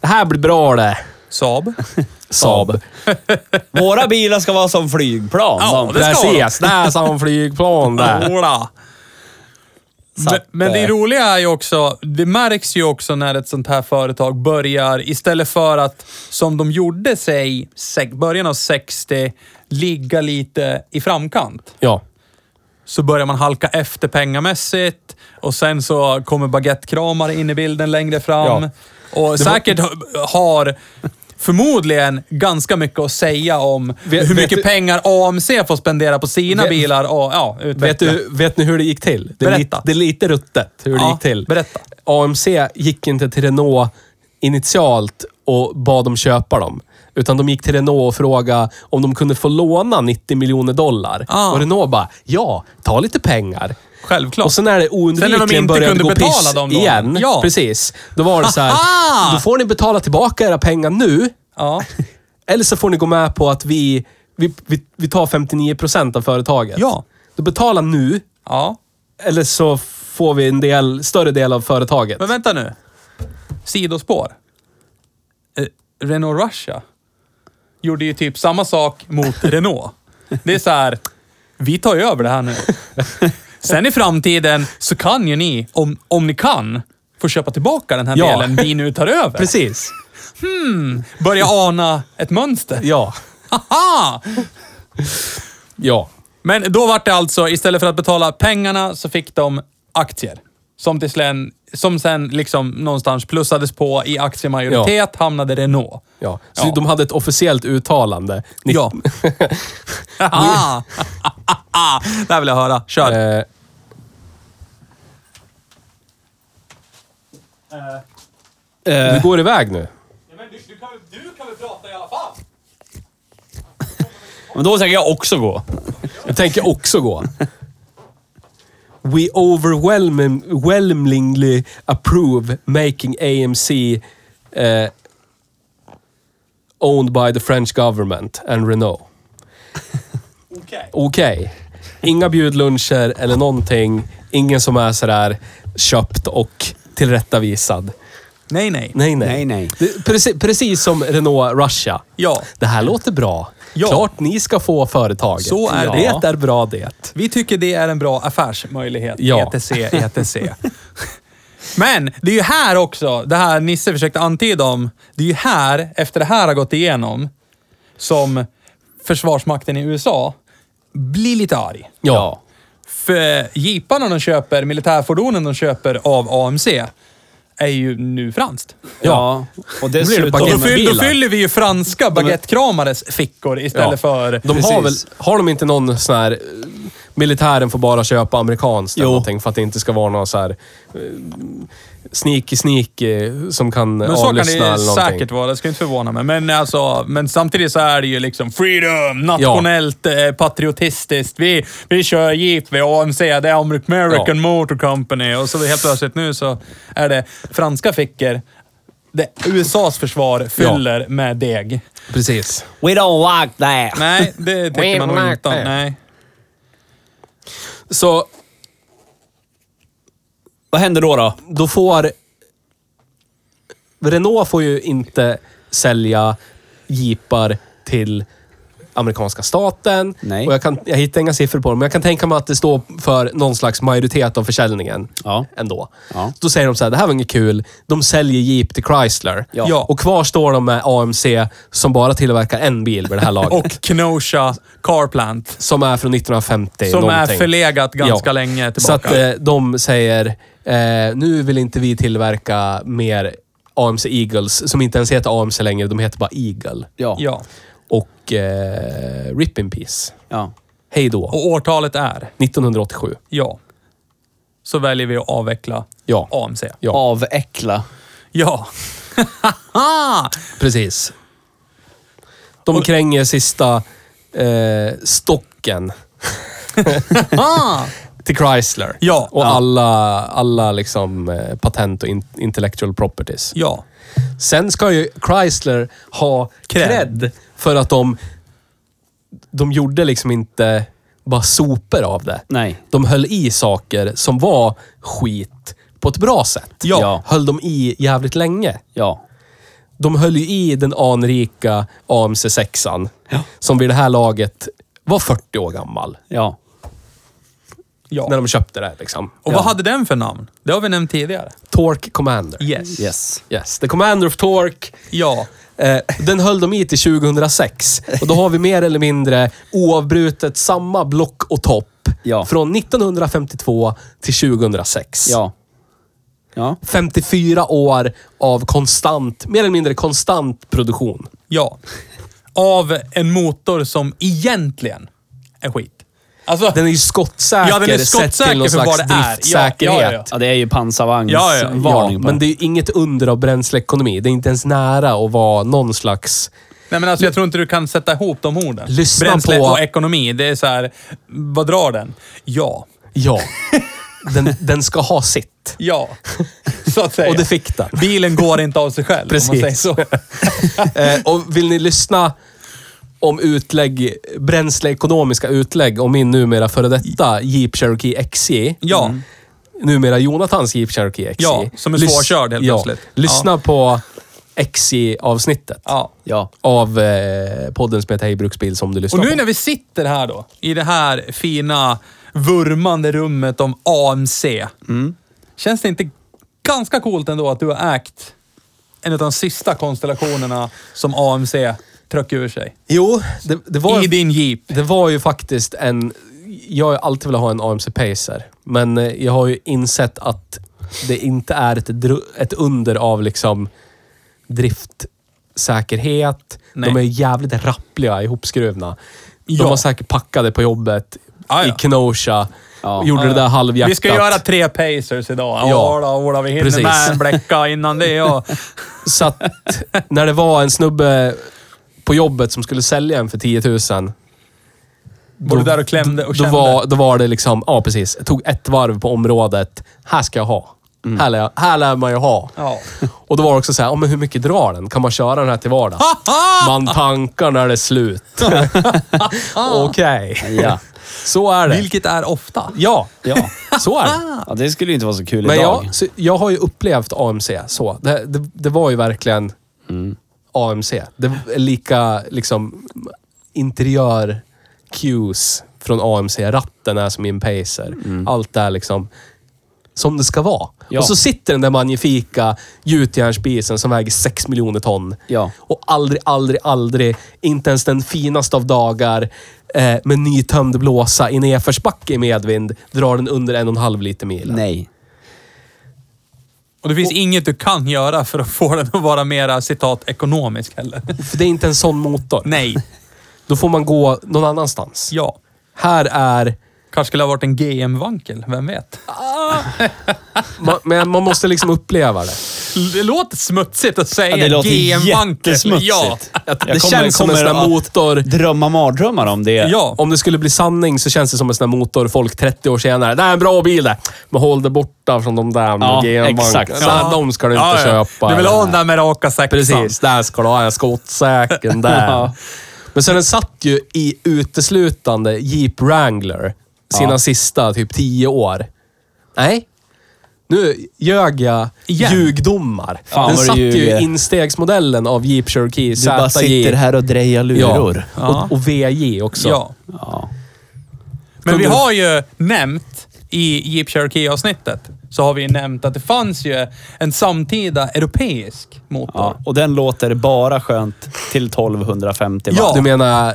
Speaker 3: det här blir bra det,
Speaker 1: Saab.
Speaker 3: Saab.
Speaker 2: Våra bilar ska vara som flygplan.
Speaker 1: Ja,
Speaker 2: de.
Speaker 1: det ska de.
Speaker 3: Precis, det är som flygplan det.
Speaker 1: Jodå. Men,
Speaker 2: att,
Speaker 1: men det
Speaker 2: eh,
Speaker 1: roliga är ju också, det märks ju också när ett sånt här företag börjar, istället för att, som de gjorde sig, se- början av 60, ligga lite i framkant.
Speaker 3: Ja.
Speaker 1: så börjar man halka efter pengamässigt och sen så kommer baguettekramare in i bilden längre fram.
Speaker 3: Ja.
Speaker 1: Och säkert ha- har förmodligen ganska mycket att säga om
Speaker 3: Vet-
Speaker 1: hur
Speaker 3: vet
Speaker 1: mycket
Speaker 3: du-
Speaker 1: pengar AMC får spendera på sina
Speaker 3: Vet-
Speaker 1: bilar och ja, utveckla.
Speaker 3: Vet, du, vet ni hur det gick till? Det är,
Speaker 1: Berätta.
Speaker 3: lite, det är lite ruttet hur det
Speaker 1: Ja,
Speaker 3: gick till.
Speaker 1: berätta.
Speaker 3: AMC gick inte till Renault initialt och bad dem köpa dem. Utan de gick till Renault och frågade om de kunde få låna 90 miljoner dollar.
Speaker 1: Ah.
Speaker 3: Och Renault bara, ja, ta lite pengar.
Speaker 1: Självklart.
Speaker 3: Och sen när
Speaker 1: Sen
Speaker 3: det
Speaker 1: när de
Speaker 3: oundvikligen
Speaker 1: inte
Speaker 3: började
Speaker 1: kunde
Speaker 3: gå
Speaker 1: betala
Speaker 3: piss
Speaker 1: dem då.
Speaker 3: igen.
Speaker 1: Ja.
Speaker 3: Precis. Då var det så här,
Speaker 1: Aha!
Speaker 3: då får ni betala tillbaka era pengar nu.
Speaker 1: ja.
Speaker 3: Eller så får ni gå med på att vi, vi, vi, vi tar 59 procent av företaget.
Speaker 1: Ja.
Speaker 3: Då betala nu,
Speaker 1: ja.
Speaker 3: eller så får vi en del, större del av företaget.
Speaker 1: Men vänta nu. Sidospår. Eh, Renault Russia gjorde ju typ samma sak mot Renault. Det är så här, vi tar ju över det här nu. Sen i framtiden så kan ju ni, om, om ni kan, få köpa tillbaka den här
Speaker 3: Ja.
Speaker 1: delen vi nu tar över.
Speaker 3: Precis.
Speaker 1: Börja ana ett mönster.
Speaker 3: Ja.
Speaker 1: Haha!
Speaker 3: Ja.
Speaker 1: Men då var det alltså, istället för att betala pengarna så fick de aktier. Som, till sen, som sen liksom någonstans plussades på i aktiemajoritet, hamnade Renault.
Speaker 3: ja. Så
Speaker 1: Ja.
Speaker 3: de hade ett officiellt uttalande. Ni-
Speaker 1: Ja. Haha. Ah. det här vill jag höra. Kör.
Speaker 3: Eh,
Speaker 2: Eh,
Speaker 3: du går iväg nu.
Speaker 1: du, kan, väl prata i alla fall?
Speaker 2: men då tänker jag också gå.
Speaker 3: Jag tänker också gå. We overwhelming- overwhelmingly approve making AMC eh, owned by the French government and Renault.
Speaker 1: Okej.
Speaker 3: Okej. Inga bjudluncher eller någonting. Ingen som är sådär köpt och tillrättavisad.
Speaker 1: Nej, nej.
Speaker 3: Nej, nej.
Speaker 2: Nej, nej.
Speaker 3: Det- Precis, precis som Renault Russia.
Speaker 1: Ja.
Speaker 3: Det här låter bra.
Speaker 1: Ja.
Speaker 3: Klart ni ska få företaget.
Speaker 1: Så är
Speaker 3: det.
Speaker 1: det.
Speaker 3: är bra det.
Speaker 1: Vi tycker det är en bra affärsmöjlighet. E
Speaker 3: Ja.
Speaker 1: ETC, ETC. Men det är ju här också, det här Nisse försökte antyda om, det är ju här, efter det här har gått igenom, som försvarsmakten i USA blir lite arg.
Speaker 3: Ja.
Speaker 1: För jeeparna de köper, militärfordonen de köper av AMC, är ju nu franskt.
Speaker 2: Ja. Och
Speaker 1: Och
Speaker 2: dessutom...
Speaker 1: då, fyll, då
Speaker 3: Baguettebilar.
Speaker 1: fyller vi ju franska baguettekramares fickor istället
Speaker 3: Ja.
Speaker 1: för...
Speaker 3: De har, väl,
Speaker 2: Precis.
Speaker 3: har de inte någon sån här... eh, Militären får bara köpa amerikanskt eller
Speaker 2: Jo.
Speaker 3: någonting för att det inte ska vara någon så här... eh, Sneaky sneaky som kan
Speaker 1: Men så kan
Speaker 3: avlyssna
Speaker 1: det
Speaker 3: eller någonting.
Speaker 1: säkert vara, det ska inte förvåna mig. Men, alltså, men samtidigt så är det ju liksom freedom, nationellt, eh, patriotistiskt. Vi, vi kör jeep, vi har AMC, det är American
Speaker 3: Ja.
Speaker 1: Motor Company. Och så helt plötsligt nu så är det franska fickor. Det, USAs försvar fyller med deg.
Speaker 3: Precis.
Speaker 2: We don't like that.
Speaker 1: Nej, det tycker man nog inte om. Nej.
Speaker 3: Så
Speaker 2: Vad händer då då?
Speaker 3: då får... Renault får ju inte sälja jeepar till amerikanska staten.
Speaker 2: Nej.
Speaker 3: Och jag, kan, jag hittar inga siffror på dem, men jag kan tänka mig att det står för någon slags majoritet av försäljningen
Speaker 2: Ja.
Speaker 3: ändå.
Speaker 2: Ja.
Speaker 3: Då säger de så här, det här var inget kul. De säljer Jeep till Chrysler.
Speaker 2: Ja.
Speaker 1: Ja.
Speaker 3: Och kvar står de med AMC som bara tillverkar en bil vid det här laget.
Speaker 1: Och Kenosha Car Plant,
Speaker 3: som är från 1950
Speaker 1: som
Speaker 3: någonting.
Speaker 1: är förlegat ganska
Speaker 3: Ja.
Speaker 1: länge
Speaker 3: Så
Speaker 1: tillbaka.
Speaker 3: att eh, de säger, eh, nu vill inte vi tillverka mer AMC Eagles, som inte ens heter AMC längre, de heter bara Eagle.
Speaker 2: Ja. ja.
Speaker 1: ja.
Speaker 3: Och eh, RIP in Peace.
Speaker 2: ja.
Speaker 3: Hej då.
Speaker 1: Och årtalet är?
Speaker 3: 1987.
Speaker 1: Ja. Så väljer vi att avveckla
Speaker 3: Ja.
Speaker 1: AMC.
Speaker 3: Ja.
Speaker 2: Aväckla.
Speaker 1: Ja.
Speaker 3: Precis. De kränger sista eh, stocken
Speaker 1: Ah!
Speaker 3: till Chrysler.
Speaker 1: Ja.
Speaker 3: Och
Speaker 1: Ja.
Speaker 3: alla, alla liksom, eh, patent och in, intellectual properties.
Speaker 1: Ja.
Speaker 3: Sen ska ju Chrysler ha
Speaker 1: Cred.
Speaker 3: cred för att de, de gjorde liksom inte bara sopor av det.
Speaker 2: Nej.
Speaker 3: De höll i saker som var skit på ett bra sätt.
Speaker 1: Ja.
Speaker 3: Höll de i jävligt länge.
Speaker 2: Ja.
Speaker 3: De höll ju i den anrika AMC 6 som vid det här laget var 40 år gammal
Speaker 2: Ja.
Speaker 1: ja.
Speaker 3: när de köpte det. Liksom.
Speaker 1: Och vad hade den för namn? Det har vi nämnt tidigare.
Speaker 3: Torque Commander.
Speaker 1: Yes.
Speaker 2: Yes.
Speaker 3: Yes, the Commander of Torque.
Speaker 1: Ja.
Speaker 3: Eh, Den höll de i till 2006. Och då har vi mer eller mindre oavbrutet samma block och topp.
Speaker 2: Ja.
Speaker 3: Från 1952 till 2006.
Speaker 2: Ja. Ja.
Speaker 3: 54 år av konstant, mer eller mindre konstant produktion.
Speaker 1: Ja. Av en motor som egentligen är skit. Alltså,
Speaker 3: Den är ju skottsäker,
Speaker 1: Ja, den är
Speaker 3: sett till
Speaker 1: skottsäker
Speaker 3: någon
Speaker 1: för
Speaker 3: slags
Speaker 1: vad det är. Ja, ja,
Speaker 3: driftsäkerhet.
Speaker 1: ja, ja.
Speaker 2: Ja, det är ju pansarvagns
Speaker 1: Ja, ja.
Speaker 3: Ja,
Speaker 2: varning på
Speaker 3: men det är ju inget under av bränsleekonomi. Det är inte ens nära att vara någon slags...
Speaker 1: nej men alltså jag tror inte du kan sätta ihop de orden.
Speaker 3: Lyssna
Speaker 1: Bränsle
Speaker 3: på-
Speaker 1: och ekonomi, det är så här, vad drar den? Ja.
Speaker 3: Ja. Den, den ska ha sitt.
Speaker 1: Ja. Så att säga.
Speaker 3: Och det fick den.
Speaker 1: Bilen går inte av sig själv, om man säger
Speaker 3: Precis.
Speaker 1: så.
Speaker 3: Eh, och vill ni lyssna om utlägg, bränsleekonomiska utlägg om min numera före detta Jeep Cherokee XJ.
Speaker 1: Ja.
Speaker 3: Numera Jonathans Jeep Cherokee XJ.
Speaker 1: Ja, som är
Speaker 3: Lys-
Speaker 1: svårkörd helt plötsligt.
Speaker 3: Lyssna på XJ-avsnittet
Speaker 1: Ja.
Speaker 2: Ja.
Speaker 3: av eh, podden som heter Hej Bruksbil som du lyssnar
Speaker 1: Och nu
Speaker 3: på.
Speaker 1: när vi sitter här då, i det här fina vurmande rummet om AMC.
Speaker 3: Mm.
Speaker 1: Känns det inte ganska coolt ändå att du har ägt en av de sista konstellationerna som AMC tröck ur sig?
Speaker 3: Jo, det, det,
Speaker 1: I
Speaker 3: var,
Speaker 1: din Jeep.
Speaker 3: det var ju faktiskt en... Jag har ju alltid velat ha en AMC Pacer, men eh, jag har ju insett att det inte är ett, dru- ett under av liksom driftsäkerhet.
Speaker 1: Nej.
Speaker 3: De är jävligt rappliga ihopskruvna.
Speaker 1: Ja.
Speaker 3: De var säkert packade på jobbet
Speaker 1: Ah, ja. Ah.
Speaker 3: i Kenosha.
Speaker 2: Ja.
Speaker 3: Gjorde det där halvhjärtat.
Speaker 1: Vi ska göra tre pacers idag. Ja,
Speaker 3: Ja.
Speaker 1: då, Ola, vi hinner
Speaker 3: Precis.
Speaker 1: med en bläcka innan det. Ja.
Speaker 3: Så att när det var en snubbe på jobbet som skulle sälja en för 10 000
Speaker 1: Var du där och klämde och
Speaker 3: då
Speaker 1: kände?
Speaker 3: var, då var det liksom, ja precis. Jag tog ett varv på området. Här ska jag ha. Här, lär, här lär man ju ha.
Speaker 1: Mm. Ja.
Speaker 3: Och då var det också så här, ja, men hur mycket drar den? Kan man köra den här till vardags? man tankar när det är slut. Okej.
Speaker 2: Ja.
Speaker 3: Så är det.
Speaker 1: Vilket är ofta.
Speaker 3: Ja,
Speaker 2: Ja.
Speaker 3: så är det.
Speaker 2: ja. Det skulle ju inte vara så kul
Speaker 3: Men
Speaker 2: idag.
Speaker 3: jag, så, jag har ju upplevt AMC så. Det, det, det var ju verkligen
Speaker 2: Mm.
Speaker 3: AMC. Det är lika liksom interiör cues från AMC. Ratten är som i en pacer. Allt är liksom som det ska vara.
Speaker 2: Mm. Ja.
Speaker 3: Och så sitter den där magnifika gjutjärnsspisen som väger 6 miljoner ton.
Speaker 2: Ja.
Speaker 3: Och aldrig, aldrig, aldrig, inte ens den finaste av dagar, eh, med nytömd blåsa i nedförsbacke i medvind drar den under en och en halv liter milen.
Speaker 2: Nej.
Speaker 1: Och det finns inget du kan göra för att få den att vara mera citat ekonomisk heller.
Speaker 3: För det är inte en sån motor.
Speaker 1: Nej.
Speaker 3: Då får man gå någon annanstans.
Speaker 1: Ja.
Speaker 3: Här är...
Speaker 1: Kanske skulle ha varit en GM-vankel, vem vet?
Speaker 3: Man, men man måste liksom uppleva det.
Speaker 1: Det låter smutsigt att säga
Speaker 2: Ja, det låter
Speaker 1: GM-vankel. Ja.
Speaker 2: jättesmutsigt.
Speaker 3: Att
Speaker 2: Jag
Speaker 3: det
Speaker 2: kommer-
Speaker 3: känns som en
Speaker 2: kommer
Speaker 3: sån där
Speaker 2: att-
Speaker 3: motor...
Speaker 2: Drömma mardrömmar om det.
Speaker 1: ja.
Speaker 3: Om det skulle bli sanning så känns det som en sån där motor folk 30 år senare. Det är en bra bil det. Men håll dig borta från de där med
Speaker 2: Ja,
Speaker 3: GM-banken.
Speaker 2: exakt.
Speaker 3: Så här, De ska du inte
Speaker 1: Ja, ja.
Speaker 3: köpa.
Speaker 1: Du vill
Speaker 3: eller-
Speaker 1: ha den där med raka sexan.
Speaker 3: Precis, där ska du ha en skottsäken där.
Speaker 2: Ja.
Speaker 3: Men sen den satt ju i uteslutande Jeep Wrangler sina
Speaker 2: Ja.
Speaker 3: sista typ tio år. Nej. Nu ljög jag
Speaker 1: Igen.
Speaker 3: ljugdomar.
Speaker 2: Fan,
Speaker 3: den
Speaker 2: vad du
Speaker 3: satt ju i
Speaker 2: ljuger.
Speaker 3: instegsmodellen av Jeep Cherokee
Speaker 2: Du bara sitter här och drejar
Speaker 3: Ja.
Speaker 2: luror.
Speaker 3: Och, och VJ också.
Speaker 1: Ja.
Speaker 2: Ja.
Speaker 1: Men vi
Speaker 3: Kunde-
Speaker 1: har ju nämnt i Jeep Cherokee-avsnittet, så har vi nämnt att det fanns ju en samtida europeisk motor.
Speaker 2: Ja. Och den låter bara skönt till 1250 watt.
Speaker 1: Ja.
Speaker 3: Du menar eh,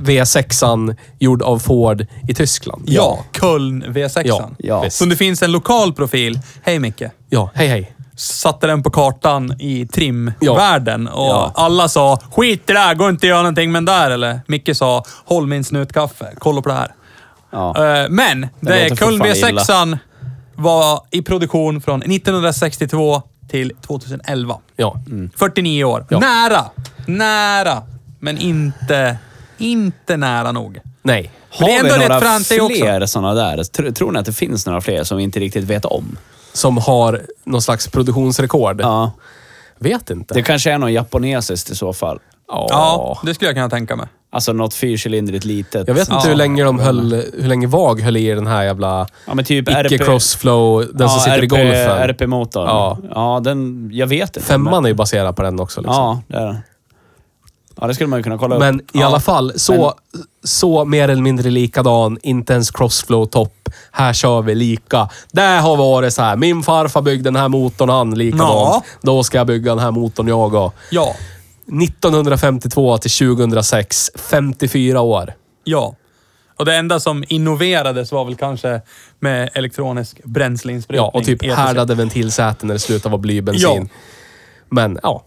Speaker 3: V6an gjord av Ford i Tyskland?
Speaker 1: Ja, Köln V6.
Speaker 3: Ja,
Speaker 2: ja.
Speaker 1: Som det finns en lokal profil. Hej Micke.
Speaker 3: Ja, hej hej.
Speaker 1: Satte den på kartan i
Speaker 3: Ja.
Speaker 1: trimvärlden och
Speaker 2: Ja.
Speaker 1: alla sa “Skit i det här, gå inte och gör någonting med den där” eller Micke sa “Håll min snutkaffe, kolla på det här”.
Speaker 2: Ja.
Speaker 1: Eh, Men det
Speaker 2: låter
Speaker 1: Köln
Speaker 2: fortfarande illa.
Speaker 1: V6 var i produktion från 1962 till 2011.
Speaker 3: Ja.
Speaker 2: Mm.
Speaker 1: 49 år.
Speaker 3: Ja.
Speaker 1: Nära! Nära! Men inte, inte nära nog.
Speaker 3: Nej.
Speaker 1: Men det är
Speaker 2: Har
Speaker 1: ändå
Speaker 2: vi
Speaker 1: rätt
Speaker 2: några
Speaker 1: fransig också.
Speaker 2: fler sådana där? Tr- Tror ni att det finns några fler som vi inte riktigt vet om?
Speaker 3: Som har någon slags produktionsrekord.
Speaker 2: Ja.
Speaker 3: Vet inte.
Speaker 2: Det kanske är någon japonesiskt i så fall.
Speaker 1: Ja, det skulle jag kunna tänka mig.
Speaker 2: Alltså något fyrcylindrigt litet.
Speaker 3: Jag vet inte
Speaker 1: Ja.
Speaker 3: hur länge de höll, hur länge VAG höll i den här jävla
Speaker 2: Ja, men typ RP
Speaker 3: icke-crossflow, den som
Speaker 2: Ja,
Speaker 3: sitter
Speaker 2: RP
Speaker 3: i golfen.
Speaker 2: RP-motorn.
Speaker 3: Ja.
Speaker 2: Ja. den... Jag vet inte.
Speaker 3: Femman är ju baserad på den också.
Speaker 2: men,
Speaker 3: Liksom.
Speaker 2: Ja, det är den. Ja, det skulle man ju kunna kolla
Speaker 3: Men i
Speaker 2: upp. ja.
Speaker 3: alla fall, så, så mer eller mindre likadan. Inte ens crossflow-topp. Här kör vi lika. Det har varit så här. Min farfar byggde den här motorn, han likadant.
Speaker 1: Ja.
Speaker 3: Då ska jag bygga den här motorn jag och.
Speaker 1: Ja,
Speaker 3: 1952 till 2006. 54 år.
Speaker 1: ja. Och det enda som innoverades var väl kanske med elektronisk bränsleinsprängning.
Speaker 3: Ja, och typ härdade ventilsäten när det slutar vara blybensin.
Speaker 1: Ja.
Speaker 3: Men ja.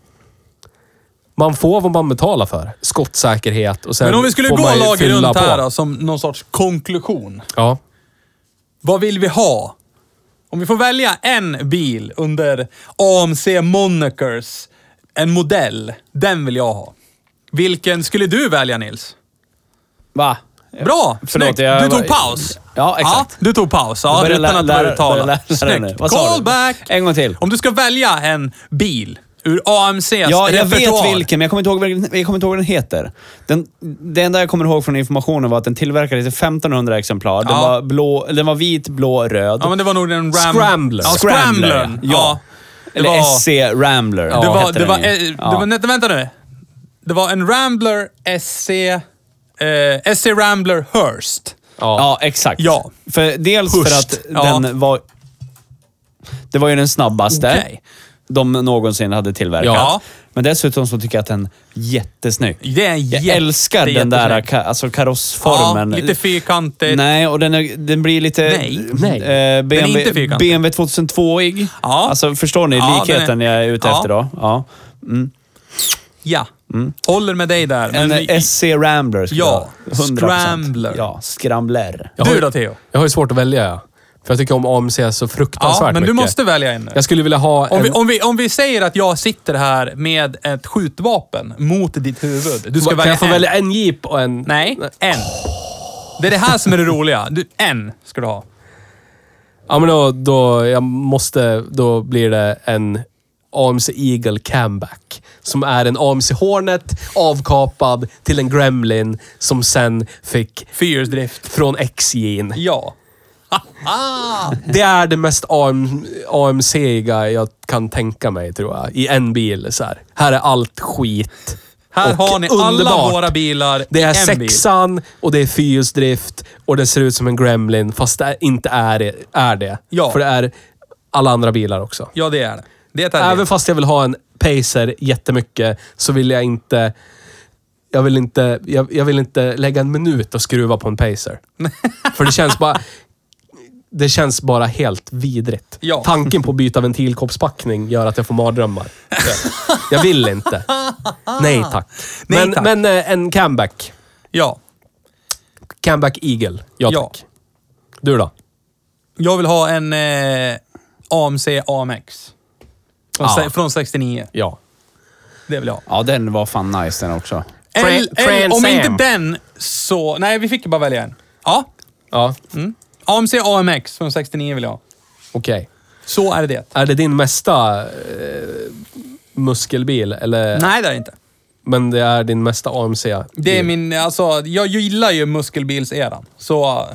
Speaker 3: Man får vad man betalar för. Skottsäkerhet och sen
Speaker 1: Men om vi skulle
Speaker 3: får
Speaker 1: gå
Speaker 3: man ju
Speaker 1: lager
Speaker 3: fylla
Speaker 1: runt
Speaker 3: på.
Speaker 1: här alltså. då, som någon sorts konklusion.
Speaker 3: Ja.
Speaker 1: Vad vill vi ha? Om vi får välja en bil under AMC Monikers, en modell, den vill jag ha. Vilken skulle du välja Nils?
Speaker 2: Va?
Speaker 1: Bra!
Speaker 2: Förlåt,
Speaker 1: snyggt.
Speaker 2: jag-
Speaker 1: Du tog paus.
Speaker 2: Ja, exakt.
Speaker 1: du tog paus. Ja,
Speaker 2: Börja
Speaker 1: utan
Speaker 2: lä-
Speaker 1: att
Speaker 2: lära-
Speaker 1: börja
Speaker 2: börja lära
Speaker 1: tala.
Speaker 2: dig nu.
Speaker 1: Snyggt.
Speaker 2: Vad sa du?
Speaker 1: Callback!
Speaker 2: En gång till.
Speaker 1: Om du ska välja en bil ur AMCs
Speaker 2: Ja, jag
Speaker 1: repertoar.
Speaker 2: vet vilken, men jag kommer inte ihåg, vilken- jag kommer inte ihåg vad den heter. Den, det enda jag kommer ihåg från informationen var att den tillverkades i 1500 exemplar. Den,
Speaker 1: Ja.
Speaker 2: var, blå, den var vit, blå, röd.
Speaker 1: Ja, men det var nog den Ram...
Speaker 3: Scrambler.
Speaker 1: Ja, Scrambler.
Speaker 2: Ja.
Speaker 1: Ja.
Speaker 2: Eller
Speaker 1: det var-
Speaker 2: SC Rambler.
Speaker 1: Det var...
Speaker 2: hette
Speaker 1: Det
Speaker 2: den
Speaker 1: var,
Speaker 2: ju.
Speaker 1: eh,
Speaker 2: Ja.
Speaker 1: det var nej, vänta nu. Det var en Rambler SC... Eh, SC Rambler Hearst.
Speaker 3: Ja.
Speaker 2: Ja, exakt.
Speaker 1: Ja.
Speaker 2: För, dels
Speaker 1: Hurst.
Speaker 2: för att
Speaker 1: Ja.
Speaker 2: den var... Det var ju den snabbaste
Speaker 1: Okej.
Speaker 2: de någonsin hade tillverkat.
Speaker 1: Ja.
Speaker 2: Men dessutom så tycker jag att den är jättesnygg.
Speaker 1: Det är en
Speaker 2: Jag
Speaker 1: jätte-
Speaker 2: älskar den där
Speaker 1: jättesnygg.
Speaker 2: ka, alltså karossformen.
Speaker 1: Ja, lite fyrkantigt.
Speaker 2: Nej, och den, är, den blir lite...
Speaker 1: Nej.
Speaker 3: Nej.
Speaker 2: Eh, BMW,
Speaker 1: Den är inte fyrkantig.
Speaker 2: BMW 2002-ig.
Speaker 1: Ja.
Speaker 2: Alltså, förstår ni
Speaker 1: Ja,
Speaker 2: likheten
Speaker 1: den är-
Speaker 2: jag är ute
Speaker 1: Ja.
Speaker 2: efter då? Ja.
Speaker 1: Ja. Håller med dig där.
Speaker 2: Mm. En
Speaker 1: men-
Speaker 2: SC Rambler skulle
Speaker 1: Ja,
Speaker 2: jag ha. 100%.
Speaker 1: Scrambler.
Speaker 2: Ja, Scrambler.
Speaker 3: Jag har
Speaker 1: Du
Speaker 3: ju-
Speaker 1: då, Theo?
Speaker 3: Jag har ju svårt att välja. ja. För jag tycker om AMC så fruktansvärt
Speaker 1: Ja, men
Speaker 3: mycket.
Speaker 1: du måste välja en nu.
Speaker 3: Jag skulle vilja ha
Speaker 1: Om
Speaker 3: en...
Speaker 1: vi, om, vi, om vi säger att jag sitter här med ett skjutvapen mot ditt huvud. Du ska
Speaker 3: kan
Speaker 1: välja
Speaker 3: jag få
Speaker 1: en.
Speaker 3: välja en Jeep och en...
Speaker 1: Nej, en. Det är det här som är det roliga. Du, en ska du ha.
Speaker 3: Ja, men då, då, jag måste, då blir det en AMC Eagle Camback. Som är en AMC Hornet avkapad till en Gremlin som sen fick
Speaker 1: Fyrhjulsdrift.
Speaker 3: från XJ'n.
Speaker 1: Ja.
Speaker 3: Det är det mest AM, AMC-iga jag kan tänka mig, tror jag. I en bil. Så här. här är allt skit.
Speaker 1: Här
Speaker 3: Och
Speaker 1: har ni alla
Speaker 3: underbart.
Speaker 1: våra bilar
Speaker 3: Det
Speaker 1: i
Speaker 3: är
Speaker 1: en
Speaker 3: sexan och det är fyrhjulsdrift och det ser ut som en Gremlin, fast det är- inte är det. Är det.
Speaker 1: Ja.
Speaker 3: För det är alla andra bilar också.
Speaker 1: Ja, det är det. Det är det.
Speaker 3: Även fast jag vill ha en Pacer jättemycket så vill jag inte jag vill inte, jag, jag vill inte lägga en minut och skruva på en pacer. För det känns bara... Det känns bara helt vidrigt.
Speaker 1: Ja.
Speaker 3: Tanken på att byta ventilkoppspackning gör att jag får mardrömmar. Jag- Jag vill inte. Nej tack.
Speaker 1: Nej,
Speaker 3: men,
Speaker 1: tack.
Speaker 3: men eh, en comeback.
Speaker 1: Ja.
Speaker 3: Comeback Eagle. Ja
Speaker 1: Ja.
Speaker 3: tack. Du då?
Speaker 1: Jag vill ha en eh, AMC AMX. Från,
Speaker 3: Ja.
Speaker 1: se, från 69.
Speaker 3: Ja.
Speaker 1: Det vill jag ha.
Speaker 2: Ja, den var fan nice den också.
Speaker 3: Fra-
Speaker 1: Eller- eller
Speaker 3: Fran
Speaker 1: om
Speaker 3: Sam.
Speaker 1: inte den så... Nej, vi fick ju bara välja en. Ja.
Speaker 3: Ja,
Speaker 1: Mm. AMC AMX från 69 vill jag ha.
Speaker 3: okej.
Speaker 1: Så är det.
Speaker 3: Är det din mesta eh, muskelbil? Eller?
Speaker 1: Nej, det är det inte.
Speaker 3: Men det är din mesta AMC?
Speaker 1: Det är min... Alltså, jag gillar ju muskelbilseran. Så...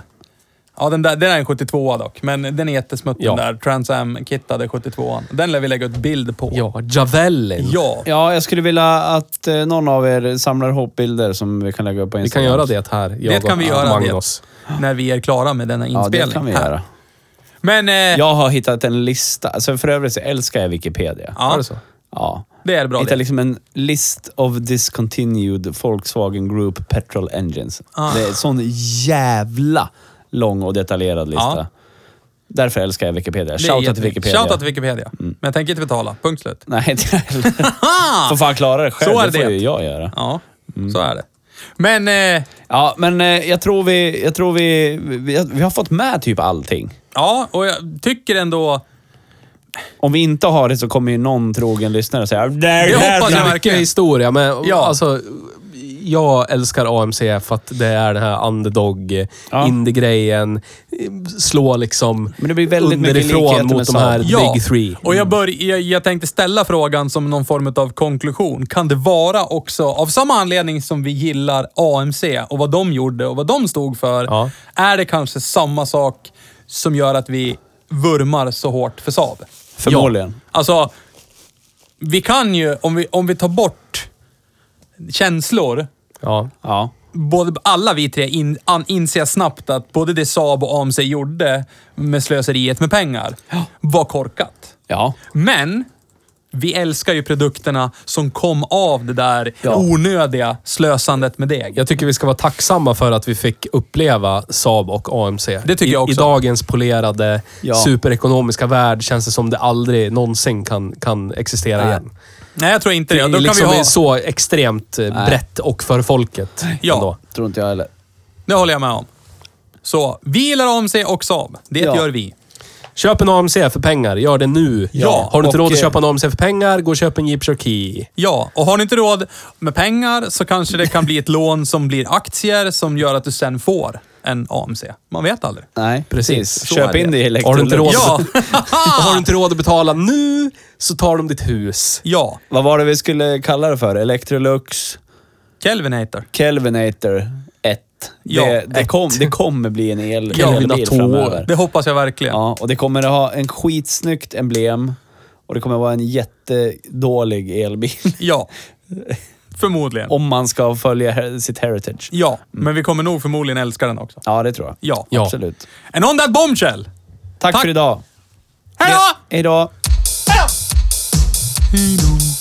Speaker 1: Ja, den där den är en 72a dock, men den är jättesmutt
Speaker 3: Ja.
Speaker 1: den där. Trans Am-kittade 72an. Den lär vi lägga ut bild på.
Speaker 3: Ja, Javellin.
Speaker 1: Ja.
Speaker 2: Ja, jag skulle vilja att eh, någon av er samlar ihop bilder som vi kan lägga upp på
Speaker 3: Vi kan
Speaker 2: Instagram.
Speaker 3: göra det här, jag
Speaker 1: Det kan
Speaker 3: och
Speaker 1: vi göra
Speaker 3: Magnus.
Speaker 1: det. När vi är klara med denna
Speaker 2: Ja,
Speaker 1: inspelning.
Speaker 2: det kan vi
Speaker 1: här.
Speaker 2: göra.
Speaker 1: Men eh, ja.
Speaker 2: Jag har hittat en lista. Alltså för övrigt så älskar jag Wikipedia.
Speaker 3: Är det så?
Speaker 2: Ja.
Speaker 1: det är bra
Speaker 2: Hitta
Speaker 1: det.
Speaker 2: liksom en list of discontinued Volkswagen Group petrol engines.
Speaker 1: Ah.
Speaker 2: Det är en sån jävla lång och detaljerad lista.
Speaker 1: Ja.
Speaker 2: Därför älskar jag Wikipedia.
Speaker 1: Det är
Speaker 2: Shoutout till
Speaker 1: jättefint.
Speaker 2: Wikipedia.
Speaker 1: Shoutout till Wikipedia. Men jag tänker inte betala. Punkt slut.
Speaker 2: Nej, inte heller.
Speaker 1: Ah!
Speaker 2: Får fan klara det själv.
Speaker 1: Så är
Speaker 2: det får
Speaker 1: det.
Speaker 2: ju jag göra.
Speaker 1: Ja, så är det. Men eh,
Speaker 2: Ja, men eh, jag tror vi... Jag tror vi, vi, vi har fått med typ allting.
Speaker 1: ja, och jag tycker ändå...
Speaker 2: Om vi inte har det så kommer ju någon trogen lyssnare säga
Speaker 1: Det
Speaker 2: Det
Speaker 1: hoppas jag
Speaker 3: Mycket
Speaker 1: verkligen.
Speaker 3: historia, men
Speaker 1: Ja.
Speaker 3: alltså... Jag älskar AMC för att det är den här underdog,
Speaker 2: Ja.
Speaker 3: indie-grejen. Slå liksom
Speaker 2: Men det blir väldigt mycket likheter
Speaker 3: underifrån
Speaker 2: med
Speaker 3: mot de här
Speaker 2: Saab.
Speaker 1: Ja,
Speaker 3: big three. Mm.
Speaker 1: och jag, bör, jag, jag tänkte ställa frågan som någon form av konklusion. Kan det vara också, av samma anledning som vi gillar AMC och vad de gjorde och vad de stod för,
Speaker 3: Ja.
Speaker 1: är det kanske samma sak som gör att vi vurmar så hårt för Saab?
Speaker 2: Förmodligen.
Speaker 1: Alltså, vi kan ju, om vi, om vi tar bort känslor,
Speaker 3: Ja.
Speaker 2: Ja.
Speaker 1: både, alla vi tre in, an, inser snabbt att både det Saab och AMC gjorde med slöseriet med pengar var korkat.
Speaker 2: Ja.
Speaker 1: Men vi älskar ju produkterna som kom av det där onödiga slösandet med deg.
Speaker 3: Jag tycker vi ska vara tacksamma för att vi fick uppleva Saab och AMC.
Speaker 1: Det tycker
Speaker 3: I,
Speaker 1: jag också.
Speaker 3: I dagens polerade,
Speaker 2: Ja.
Speaker 3: superekonomiska värld känns det som det aldrig någonsin kan, kan existera
Speaker 2: Nej.
Speaker 3: igen.
Speaker 1: Nej, jag tror inte det.
Speaker 3: Det
Speaker 1: Då
Speaker 3: är
Speaker 1: kan
Speaker 3: liksom
Speaker 1: vi
Speaker 3: är
Speaker 1: ha...
Speaker 3: så extremt eh,
Speaker 2: Nej.
Speaker 3: brett och för folket.
Speaker 1: Ja.
Speaker 3: ändå.
Speaker 2: Tror inte jag heller.
Speaker 1: Det håller jag med om. Så, vi gillar AMC och Saab. Det
Speaker 2: Ja.
Speaker 1: gör vi.
Speaker 3: Köp en AMC för pengar. Gör det nu.
Speaker 1: Ja,
Speaker 3: Har du inte
Speaker 2: och,
Speaker 3: råd att
Speaker 2: eh,
Speaker 3: köpa en AMC för pengar, gå och köp en Jeep Cherokee.
Speaker 1: Ja, och har ni inte råd med pengar så kanske det kan bli ett lån som blir aktier som gör att du sen får en AMC. Man vet aldrig.
Speaker 2: Nej,
Speaker 3: Precis.
Speaker 2: precis.
Speaker 1: Så
Speaker 2: Köp
Speaker 1: är
Speaker 2: in
Speaker 1: det.
Speaker 2: det i Electrolux.
Speaker 3: Har du inte råd,
Speaker 1: Ja. Ah.
Speaker 3: och har du inte råd att betala nu, så tar de ditt hus.
Speaker 1: Ja,
Speaker 2: Vad var det vi skulle kalla det för? Electrolux
Speaker 1: Kelvinator.
Speaker 2: Kelvinator 1.
Speaker 1: Ja,
Speaker 2: det, det, kom, det kommer bli en el,
Speaker 1: Ja.
Speaker 2: elbil
Speaker 3: Kelvinator.
Speaker 2: framöver.
Speaker 1: Det hoppas jag verkligen.
Speaker 2: Ja, och det kommer att ha en skitsnyggt emblem och det kommer vara en jättedålig elbil.
Speaker 1: Ja. Förmodligen.
Speaker 2: Om man ska följa he- sitt heritage.
Speaker 1: Ja, men vi kommer nog förmodligen älska den också.
Speaker 2: Ja, det tror jag.
Speaker 1: Ja.
Speaker 3: Ja.
Speaker 2: Absolut.
Speaker 1: And on that bombshell!
Speaker 2: Tack,
Speaker 1: Tack.
Speaker 2: för idag.
Speaker 1: Hej då!
Speaker 2: Hej då!
Speaker 1: Hej då!